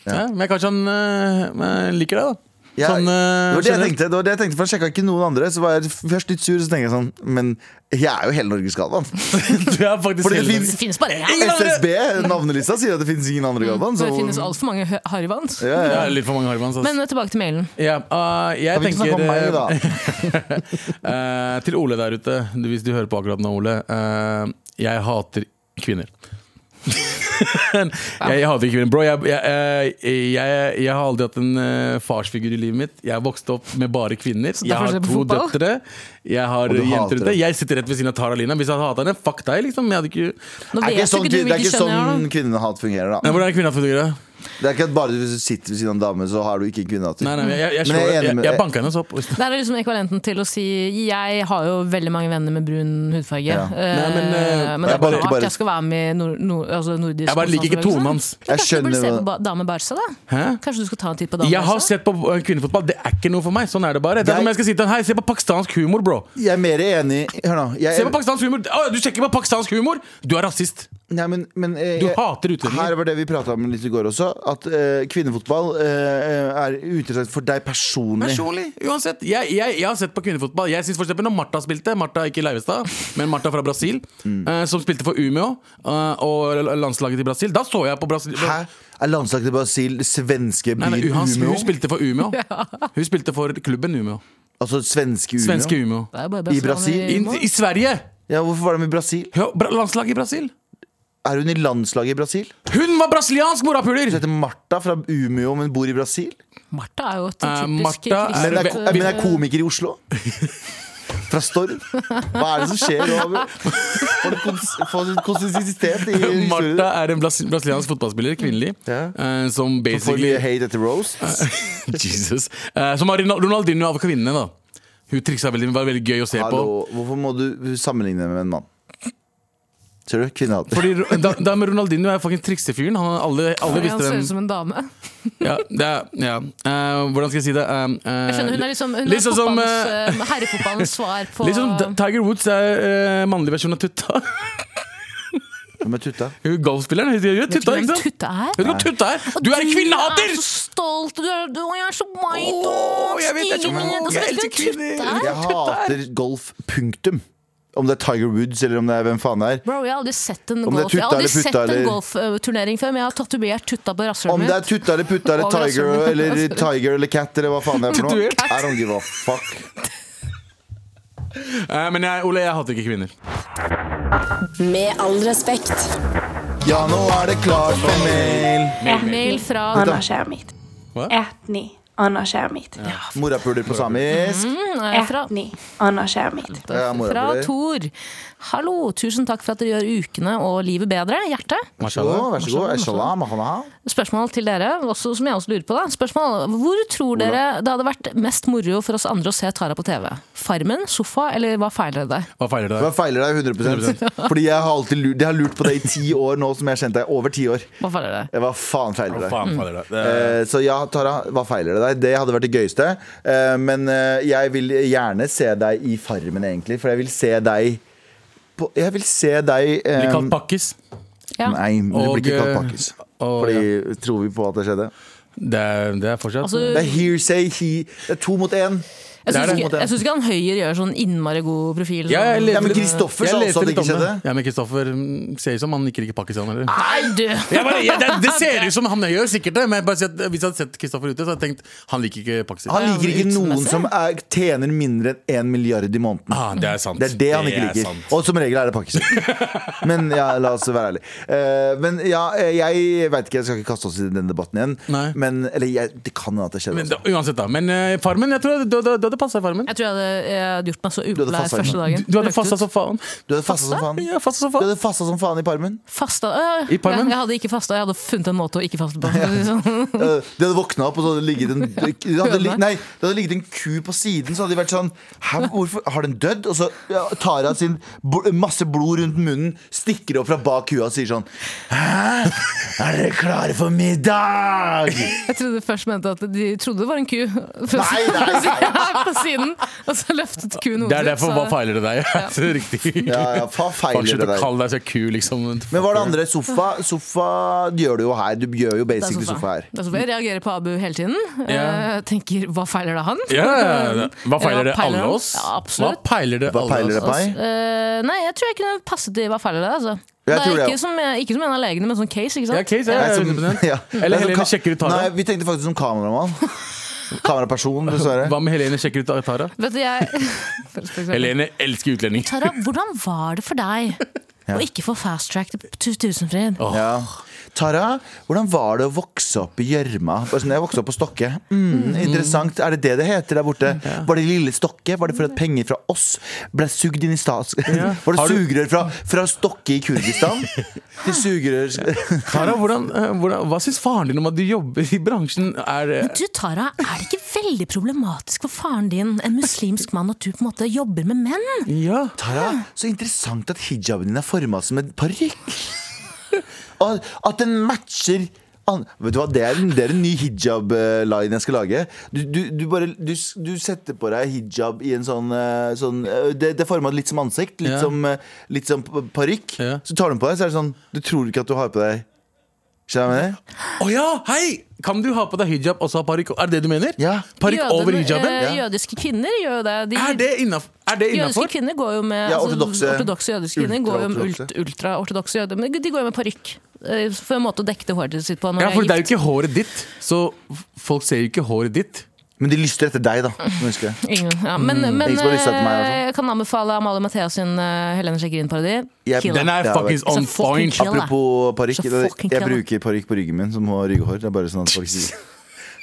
Speaker 4: Ja, men kanskje han eh, eh, liker deg, da.
Speaker 2: Ja,
Speaker 4: Sånn, eh,
Speaker 2: det, var det, jeg
Speaker 4: generelt.
Speaker 2: tenkte, det var det jeg tenkte, for jeg sjekka ikke noen andre. Så var jeg først litt sur, så tenkte jeg sånn Men jeg er jo hele Norges Galvan.
Speaker 4: <laughs> Du er faktisk
Speaker 2: Fordi det
Speaker 4: heldig.
Speaker 2: finnes
Speaker 3: Det finnes bare én.
Speaker 2: <laughs> SSB, navnelista, sier at det finnes ingen
Speaker 4: Mm.
Speaker 2: andre Galvan.
Speaker 3: Det
Speaker 2: Så,
Speaker 3: finnes altfor mange hø- harryvans.
Speaker 2: ja,
Speaker 4: Det
Speaker 2: ja.
Speaker 4: er litt for mange Harmans. ass.
Speaker 3: Men eh, tilbake til mailen.
Speaker 4: ja, ah, jeg
Speaker 2: Kan vi ikke snakke
Speaker 4: tenker
Speaker 2: om meg,
Speaker 4: eh,
Speaker 2: da?
Speaker 4: Eh, til Ole der ute, du- hvis du hører på akkurat nå, Ole. eh, jeg hater kvinner. <laughs> jeg, jeg hater ikke kvinner. Bro, jeg, jeg, eh, jeg, jeg har aldri hatt en eh, farsfigur i livet mitt. Jeg vokste opp med bare kvinner. Jeg
Speaker 3: derfor
Speaker 4: har
Speaker 3: ser du på
Speaker 4: to
Speaker 3: fotball?
Speaker 4: døtre. Jeg har
Speaker 2: Og du hater
Speaker 4: jenter ute.
Speaker 2: det.
Speaker 4: Jeg sitter rett ved siden av Tara Lina. Hvis jeg hadde hatet henne, fuck deg, liksom. Jeg hadde ikke
Speaker 3: Nå
Speaker 2: Det er
Speaker 3: vet
Speaker 2: ikke
Speaker 3: jo
Speaker 2: sånn,
Speaker 3: ikke du
Speaker 2: det er
Speaker 3: hvilket
Speaker 2: ikke
Speaker 3: kjønn jeg har,
Speaker 2: sånn
Speaker 3: da.
Speaker 2: kvinnehat fungerer, da.
Speaker 4: Nei, Hvordan er det kvinner for dere?
Speaker 2: Det er ikke at bare du sitter ved siden av en dame, så har du ikke en kvinnehat.
Speaker 4: Nei, nei, jeg, jeg,
Speaker 2: Men jeg er
Speaker 4: jeg, slår-
Speaker 2: enig
Speaker 4: jeg,
Speaker 2: med-
Speaker 4: jeg banka henne så opp.
Speaker 3: Det er liksom ekvivalenten til å si Jeg har jo veldig mange venner med brun hudfarge.
Speaker 2: Ja.
Speaker 3: eh,
Speaker 4: Nei, men,
Speaker 3: men,
Speaker 4: eh,
Speaker 3: det
Speaker 2: jeg
Speaker 3: er
Speaker 2: bare-
Speaker 3: klart
Speaker 2: bare-
Speaker 3: jeg skal være med i nord, nord, altså nordisk
Speaker 4: Jeg bare liker ikke tonen hans.
Speaker 2: Jeg
Speaker 3: Kanskje du burde se
Speaker 2: skjønner
Speaker 3: på ba- Dame Barca, da?
Speaker 4: Hæ?
Speaker 3: Kanskje du skal ta en titt på Dame
Speaker 4: Jeg har
Speaker 3: Barca?
Speaker 4: sett på eh, kvinnefotball. Det er ikke noe for meg. Sånn er det bare. Det er
Speaker 2: Jeg-
Speaker 4: som om jeg skal si til han, Hei, se på pakistansk humor, bro.
Speaker 2: Jeg er mer enig Hør nå. Jeg
Speaker 4: Se
Speaker 2: er,
Speaker 4: på pakistansk humor Å, Du sjekker på pakistansk humor! Du er rasist.
Speaker 2: nei, men, men, eh,
Speaker 4: Du
Speaker 2: jeg-
Speaker 4: hater
Speaker 2: Her
Speaker 4: utlendinger.
Speaker 2: var det vi prata om litt i går også. At eh, kvinnefotball eh, er uinteressant for deg personlig.
Speaker 4: Personlig, uansett. Jeg, jeg, jeg har sett på kvinnefotball. Jeg synes for eksempel Når Martha spilte, Martha ikke Leivestad, men Martha fra Brasil,
Speaker 2: Mm.
Speaker 4: eh, som spilte for Umeå eh, og landslaget til Brasil, da så jeg på Brasil.
Speaker 2: Hæ? Er landslaget til Brasil svenske
Speaker 4: Nei, nei,
Speaker 2: byen
Speaker 4: hun,
Speaker 2: Umeå?
Speaker 4: hun spilte
Speaker 3: <laughs>
Speaker 4: for Umeå. Hun spilte for klubben Umeå.
Speaker 2: Altså svenske Umeå?
Speaker 4: Svenske Umeå.
Speaker 3: Det er bare
Speaker 2: I
Speaker 3: Barcelona
Speaker 2: Brasil?
Speaker 4: I,
Speaker 3: Umeå.
Speaker 4: i Sverige!
Speaker 2: Ja, Hvorfor var de i Brasil?
Speaker 4: Ja, bra- Landslaget i Brasil.
Speaker 2: Er hun i landslaget i Brasil?
Speaker 4: Hun var brasiliansk morapuler!
Speaker 2: Hun <laughs> heter Martha fra Umeå, men bor i Brasil?
Speaker 3: Martha er jo et
Speaker 4: Eh,
Speaker 3: typisk
Speaker 4: Martha er-
Speaker 2: Men er,
Speaker 3: kristent
Speaker 2: men er komiker i
Speaker 4: <laughs>
Speaker 2: Oslo? Fra Stord? Hva er det som skjer? Robert? Får du kons får du konsistensitet i historien?
Speaker 4: Martha er en bras brasiliansk fotballspiller, kvinnelig,
Speaker 2: Ja.
Speaker 4: eh, som
Speaker 2: Får
Speaker 4: basically
Speaker 2: mye hate etter Rose?
Speaker 4: <laughs> Jesus. Eh, som var Rinal- Ronaldinho av kvinnene, da. Hun triksa veldig, men var veldig gøy å se på.
Speaker 2: Hallo, hvorfor må du sammenligne med en mann? Ser du? Kvinnehat.
Speaker 4: Fordi Ro- da, da med Ronaldinho er fucking triksefyren. Han, alle, alle
Speaker 3: Han
Speaker 4: visste
Speaker 3: ser ut
Speaker 4: hvem
Speaker 3: som en dame.
Speaker 4: ja, det er, ja. Eh, Hvordan skal jeg si det? Eh, eh,
Speaker 3: Jeg skjønner Hun er liksom Hun
Speaker 4: Litt sånn
Speaker 3: er
Speaker 4: som,
Speaker 3: fotballens,
Speaker 4: eh,
Speaker 3: eh, herrefotballens svar på
Speaker 4: <laughs> Litt sånn som Tiger Woods er eh, mannlig versjon av Tutta. <laughs>
Speaker 2: Hvem er tutta?
Speaker 4: Hun golfspilleren. Hun hun er
Speaker 3: Vet du
Speaker 4: Tutta,
Speaker 3: hvem
Speaker 4: ikke sant?
Speaker 3: Tutte er?
Speaker 4: Vet du hva Tutta er? Du er en
Speaker 3: Du er
Speaker 4: kvinnehater!
Speaker 3: så stolt, og du er, du, og jeg er så meit
Speaker 4: Åh,
Speaker 3: og
Speaker 4: jeg vet, jeg er så-
Speaker 3: stilig, men
Speaker 4: jeg
Speaker 3: vet
Speaker 4: elsker
Speaker 3: du hvem
Speaker 4: kvinner.
Speaker 3: Tutte er?
Speaker 2: Jeg hater golf, punktum. Om det er Tiger Woods eller om det er hvem faen det er.
Speaker 3: Bro, jeg har aldri sett en
Speaker 2: Om det er
Speaker 3: golf Jeg har
Speaker 2: tutta
Speaker 3: aldri
Speaker 2: eller
Speaker 3: sett
Speaker 2: putta,
Speaker 3: en
Speaker 2: eller-
Speaker 3: golfturnering før, men jeg har tatovert tutta på
Speaker 2: Om
Speaker 3: rasshølet
Speaker 2: det er
Speaker 3: mitt.
Speaker 2: tutta eller putta eller
Speaker 3: Over,
Speaker 2: Tiger
Speaker 3: altså.
Speaker 2: eller Tiger eller Cat eller hva faen det er for noe.
Speaker 4: Tatuert.
Speaker 2: I don't give a fuck.
Speaker 4: Eh, men jeg, Ole, jeg hater ikke kvinner.
Speaker 5: Med all respekt.
Speaker 2: Ja, nå er det klart for mail.
Speaker 3: Mail fra
Speaker 10: Anna-skärmigt.
Speaker 4: Hva?
Speaker 10: Ät ni Anna-skärmigt.
Speaker 2: Morapuler på samisk.
Speaker 3: Nei, fra,
Speaker 10: Ät ni Anna-skärmigt.
Speaker 2: Ja, mora
Speaker 3: fra
Speaker 2: blir.
Speaker 3: Tor. Hallo, tusen takk for at dere gjør ukene og livet bedre. Hjerte.
Speaker 2: Vær så god. Vær så god. Inshallah, mahana.
Speaker 3: Spørsmål til dere, også, som jeg også lurer på. da Spørsmål, Hvor tror dere det hadde vært mest moro for oss andre å se Tara på TV? Farmen, sofa, eller hva feiler det deg?
Speaker 4: Hva feiler det
Speaker 2: Hva
Speaker 4: deg?
Speaker 2: feiler deg 100 Fordi jeg har alltid lurt, jeg har lurt på det i ti år nå som jeg har kjent deg. Over ti år.
Speaker 3: Hva feiler det deg?
Speaker 2: Hva faen feiler deg?
Speaker 4: Faen feiler det deg? Det-
Speaker 2: Eh, Så ja, Tara, hva feiler det deg? Det hadde vært det gøyeste. Eh, Men eh, jeg vil gjerne se deg i Farmen, egentlig. For jeg vil se deg på, Jeg vil se deg eh,
Speaker 4: Blir kalt pakkis.
Speaker 3: Ja.
Speaker 2: Nei, men det blir ikke
Speaker 4: Og,
Speaker 2: kalt
Speaker 4: eh,
Speaker 2: pakkis.
Speaker 4: og,
Speaker 2: Fordi Tror vi på at det skjedde?
Speaker 4: Det er, det er fortsatt
Speaker 3: Altså,
Speaker 2: Det er hearsay. He, det er to mot én.
Speaker 3: jeg
Speaker 4: det er
Speaker 3: syns
Speaker 4: det.
Speaker 3: ikke, jeg syns ikke han Høyer gjør sånn innmari god profil.
Speaker 4: Ja, jeg
Speaker 3: sånn-
Speaker 4: leser-
Speaker 2: Ja, men Kristoffer
Speaker 4: Jeg
Speaker 2: sa
Speaker 4: leste
Speaker 2: også at det
Speaker 4: litt
Speaker 2: ikke
Speaker 4: om
Speaker 2: skjedde. Ah.
Speaker 4: Ja, men Kristoffer mm, ser ut som han nikker ikke Pakistan heller.
Speaker 3: Nei, du!
Speaker 4: <laughs> Jeg bare, jeg, det, det ser ut som han gjør, sikkert det. Men jeg bare, sier at hvis jeg hadde sett Kristoffer ute, så hadde jeg tenkt han liker ikke Pakistan.
Speaker 2: Han liker ikke noen
Speaker 3: Utseendemessig.
Speaker 2: som er, tjener mindre enn én milliard i måneden.
Speaker 4: Ah, det er sant.
Speaker 2: Det er det han ikke
Speaker 4: er
Speaker 2: liker.
Speaker 4: sant.
Speaker 2: Og som regel er det pakkis.
Speaker 4: <laughs>
Speaker 2: Men ja, la oss være ærlige. Eh, men ja, eh, jeg veit ikke, jeg skal ikke kaste oss i den debatten igjen.
Speaker 4: Nei.
Speaker 2: Men, eller jeg, det kan hende at det skjer.
Speaker 4: Men,
Speaker 2: Også.
Speaker 4: da, uansett, da. Men eh, Farmen, jeg tror det- det det- det hadde passa i Farmen.
Speaker 3: Jeg tror jeg hadde, jeg hadde gjort meg så
Speaker 2: hadde
Speaker 3: upopulær
Speaker 2: fasta
Speaker 3: første
Speaker 2: inne.
Speaker 3: dagen.
Speaker 4: Du hadde
Speaker 3: Røkt
Speaker 4: fasta
Speaker 3: ut.
Speaker 4: som faen.
Speaker 2: Du hadde fasta som faen.
Speaker 4: Ja, fasta som
Speaker 2: Du
Speaker 4: faen.
Speaker 2: hadde fasta som faen i parmen.
Speaker 3: Fasta øh,
Speaker 4: I parmen?
Speaker 3: Jeg, jeg hadde ikke fasta, jeg hadde funnet en måte å ikke faste på. <laughs> Sånn.
Speaker 2: Eh, De hadde våkna opp, og så hadde det ligget
Speaker 4: <laughs>
Speaker 2: en det hadde, lig- Nei, det hadde ligget en ku på siden, så hadde de vært sånn Hæ, hvorfor Har den dødd? Og så ja, Tara sin bl- masse blod rundt munnen stikker opp fra bak kua og sier sånn Hæ? Er dere klare for middag?
Speaker 3: <laughs> Jeg trodde først mente at de trodde det var en ku. <laughs>
Speaker 2: Nei, nei, nei.
Speaker 3: på siden, og så løftet kuen hodet
Speaker 4: Det er derfor
Speaker 3: så-
Speaker 4: hva feiler <laughs> det deg? Så Riktig.
Speaker 2: Ja, ja, hva feiler
Speaker 4: Fuck, slutt
Speaker 2: det
Speaker 4: å
Speaker 2: deg?
Speaker 4: kalle deg så ku, liksom.
Speaker 2: Men hva er det andre? Sofa, sofa gjør du jo her. Du gjør jo
Speaker 3: Det er
Speaker 2: basically
Speaker 3: sofa.
Speaker 2: sofa her.
Speaker 3: Det er sofa. Jeg reagerer på Abu hele tiden.
Speaker 4: Ja.
Speaker 3: Eh, tenker hva feiler det han?
Speaker 4: Ja, ja,
Speaker 3: <laughs>
Speaker 4: ja. Hva feiler det alle
Speaker 3: han?
Speaker 4: oss?
Speaker 3: Ja,
Speaker 4: Hva
Speaker 3: absolutt.
Speaker 4: peiler det
Speaker 2: Hva peiler
Speaker 4: alle
Speaker 2: det på
Speaker 4: oss?
Speaker 2: ei?
Speaker 3: Eh, nei, jeg tror jeg kunne passet i hva feiler det. Altså.
Speaker 2: Jeg
Speaker 3: det
Speaker 2: tror
Speaker 3: er
Speaker 2: det,
Speaker 3: ikke,
Speaker 2: ja.
Speaker 3: som, eh, ikke som en av legene, men som case. ikke sant?
Speaker 4: Ja, case,
Speaker 2: Nei,
Speaker 4: <laughs> ja,
Speaker 2: som-
Speaker 4: 100%.
Speaker 2: Um, ja. Nei,
Speaker 4: Eller
Speaker 2: som
Speaker 4: Helene
Speaker 2: ka-
Speaker 4: sjekker ut Tara.
Speaker 2: Nei, vi tenkte faktisk som
Speaker 4: <laughs>
Speaker 2: kameramann. Kameraperson, dessverre.
Speaker 4: Hva med Helene sjekker ut Tara?
Speaker 3: Vet du,
Speaker 4: <laughs>
Speaker 3: jeg
Speaker 4: Helene elsker utlendinger.
Speaker 3: Tara, hvordan var det for deg å ikke få fast track til Tusenfryd?
Speaker 2: Ja. Tara, hvordan var det å vokse opp i gjørma? Bare sånn, Jeg vokste opp på Stokke. Mm, interessant. Er det det det heter der borte? Var det lille Stokke? Var det fordi at penger fra oss ble sugd inn i stats... <laughs> Var det
Speaker 4: Har du-
Speaker 2: sugerør fra, fra Stokke i Kurdistan
Speaker 4: <laughs>
Speaker 2: til sugerør
Speaker 4: Tara, hvordan, eh, hvordan, Hva syns faren din om at du jobber i bransjen? Er, eh,
Speaker 3: Du Tara, er det ikke veldig problematisk for faren din, en muslimsk mann, at du på en måte jobber med menn?
Speaker 4: ja.
Speaker 2: Tara, så interessant at hijaben din er forma som en parykk. <laughs> Og at den matcher an- Vet du hva, Det er en, det er en ny hijab-line jeg skal lage. Du, du, du, bare, du, s- du setter på deg hijab i en sånn, eh, sånn eh, Det, det er forma litt som ansikt, litt
Speaker 4: Ja.
Speaker 2: som, eh, litt som p- parykk.
Speaker 4: Ja.
Speaker 2: Så tar du den på deg, så er det sånn Du tror ikke at du har på deg Skjønner du hva jeg mener?
Speaker 4: Å ja, hei! Kan du ha på deg hijab og så ha parykk? Er det det du mener?
Speaker 2: Ja.
Speaker 4: Parykk over
Speaker 3: Jødene-
Speaker 4: hijaben?
Speaker 3: eh, Jødiske kvinner gjør jo det. De,
Speaker 4: Er det
Speaker 3: jødiske
Speaker 4: innafor?
Speaker 3: kvinner går jo med
Speaker 2: Ja,
Speaker 3: altså,
Speaker 2: ortodokse-
Speaker 3: ortodokse jødiske kvinner går jo med
Speaker 2: ultraortodokse.
Speaker 3: ult- ultraortodokse jøder, men de går jo med parykk. eh, For en måte å dekke det håret sitt på. Når
Speaker 4: Ja,
Speaker 3: de
Speaker 4: for det er
Speaker 3: gift.
Speaker 4: jo ikke håret ditt, så f- folk ser jo ikke håret ditt.
Speaker 2: Men de lyster etter deg, da. må du huske.
Speaker 3: Ingen, ja. Men, men
Speaker 2: Ingen som har lyst til å hete meg,
Speaker 3: eh,
Speaker 2: altså.
Speaker 3: jeg kan anbefale Amalie Mathias sin eh, Helene sjekker inn-parodi.
Speaker 2: Jeg-
Speaker 3: Kill
Speaker 4: Den
Speaker 3: it.
Speaker 4: er
Speaker 2: Ja,
Speaker 4: fuckings
Speaker 3: vel.
Speaker 4: on
Speaker 3: Så fucking
Speaker 4: point.
Speaker 3: kill.
Speaker 2: Apropos parykk.
Speaker 3: Så
Speaker 2: Jeg,
Speaker 3: fucking
Speaker 2: jeg
Speaker 3: kjell, da.
Speaker 2: bruker parykk på ryggen min, som har ryggehår. Det er bare sånn at folk sier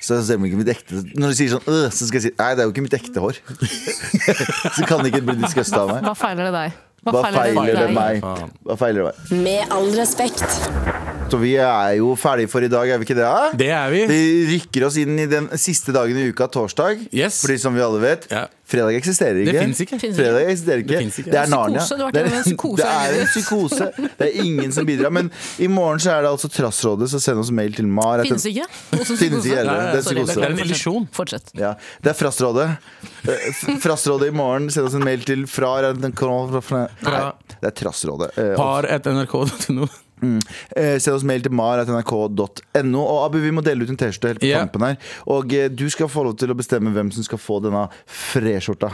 Speaker 2: så stemmer ikke mitt ekte Når du sier sånn øh, så skal jeg si Nei, det er jo ikke mitt ekte hår. <laughs> så kan det ikke bli disgusta av meg.
Speaker 3: Hva feiler det deg?
Speaker 2: Hva feiler det
Speaker 3: deg?
Speaker 2: meg?
Speaker 4: Faen.
Speaker 2: Hva feiler det meg?
Speaker 5: Med all respekt.
Speaker 2: Så vi er jo ferdige for i dag, er vi ikke det? da?
Speaker 4: Det er vi.
Speaker 2: Vi rykker oss inn i den siste dagen i uka, torsdag.
Speaker 4: Yes.
Speaker 2: Fordi som vi alle vet,
Speaker 4: Ja.
Speaker 2: fredag eksisterer ikke.
Speaker 4: Det fins ikke.
Speaker 3: Finnes ikke.
Speaker 2: Fredag eksisterer ikke.
Speaker 4: finnes ikke.
Speaker 2: Det er Narnia.
Speaker 3: Psykose, du har vært
Speaker 2: Det er,
Speaker 3: gjennom en psykose
Speaker 2: det er
Speaker 3: i
Speaker 2: en
Speaker 3: livet.
Speaker 2: psykose. Det er ingen som bidrar. Men i morgen så er det altså Trassrådet, så send oss mail til mar. etter-
Speaker 3: Finnes ikke. Noe som
Speaker 2: Finnes ikke
Speaker 3: psykose.
Speaker 2: heller. Det er
Speaker 3: Sorry,
Speaker 2: psykose.
Speaker 4: Det er en illusjon.
Speaker 3: Fortsett.
Speaker 2: Ja, det er Frassrådet. Eh, f- Frassrådet i morgen. Send oss en mail til fra Nei, det er Trassrådet. Eh, og-
Speaker 4: Par et nrk.no.
Speaker 2: eh, Send oss mail til mar.nrk.no. Og Abu, vi må dele ut en T-skjorte helt på
Speaker 4: Ja.
Speaker 2: tampen her. Og eh, du skal få lov til å bestemme hvem som skal få denne freskjorta.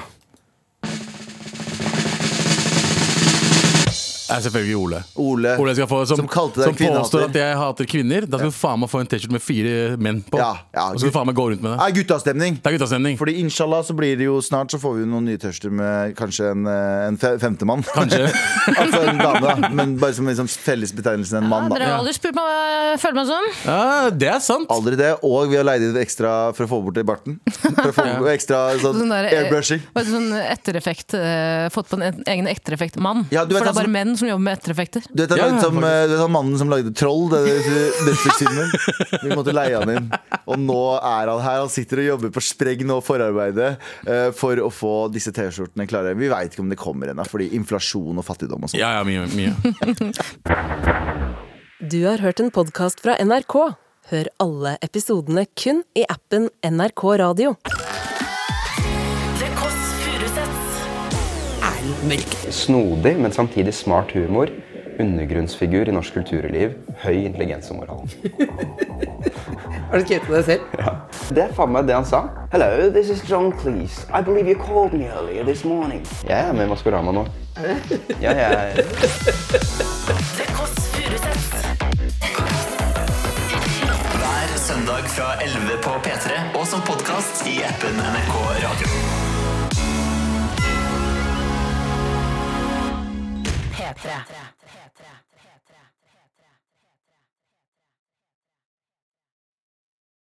Speaker 4: er selvfølgelig Ole.
Speaker 2: Ole,
Speaker 4: Ole skal få, som,
Speaker 2: Eh, som kalte deg
Speaker 4: som påstår
Speaker 2: kvinnehater.
Speaker 4: at jeg hater kvinner. Da skal du faen meg få en T-skjorte med fire menn på.
Speaker 2: Ja, ja,
Speaker 4: og så skal
Speaker 2: gud.
Speaker 4: du faen meg gå rundt med det.
Speaker 2: Er guttastemning!
Speaker 4: Det er guttastemning.
Speaker 2: Fordi inshallah så blir det jo snart så får vi jo noen nye tørster med kanskje en, eh, en fe femtemann.
Speaker 4: Kanskje.
Speaker 2: <laughs> altså en dame, da. Men bare som liksom fellesbetegnelsen en
Speaker 3: Ja,
Speaker 2: mann, da.
Speaker 3: dere har aldri spurt meg hva jeg føler meg som.
Speaker 4: Ja, det er sant.
Speaker 2: Aldri det, og vi har leid inn ekstra for å få bort i barten. For å
Speaker 4: <laughs>
Speaker 2: få bort ekstra sånn
Speaker 3: Sånn der, eh,
Speaker 2: airbrushing.
Speaker 3: hva heter det, sånn ettereffekt eh, Fått på en et- egen ettereffekt-mann.
Speaker 2: Ja, du vet han
Speaker 3: For det er bare
Speaker 2: som-
Speaker 3: menn som jobber med ettereffekter.
Speaker 2: Du vet, han
Speaker 4: Ja,
Speaker 2: lagde som,
Speaker 4: faktisk.
Speaker 2: eh, du vet han mannen som lagde Troll? Det, det, Netflix-filmen. Vi måtte leie han inn. Og nå er han her. Han sitter og jobber på spreng nå, forarbeidet, eh, for å få disse T-skjortene klare. Vi veit ikke om det kommer ennå, fordi inflasjon og fattigdom og sånn.
Speaker 4: Ja, ja, mye. mye.
Speaker 1: Du har hørt en podkast fra NRK. Hør alle episodene kun i appen NRK Radio.
Speaker 11: Snodig, men samtidig smart humor. Undergrunnsfigur i norsk kulturliv. Høy intelligens og moral.
Speaker 12: Har du skrevet det selv?
Speaker 11: Det er faen meg det han sa.
Speaker 12: Hello, this is John Cleese. I believe you called me earlier this morning.
Speaker 11: Jeg er med i Maskorama nå. Ja, jeg
Speaker 13: Hver søndag fra 11 på P3 og som podkast i appen NRK Radio.
Speaker 5: P3.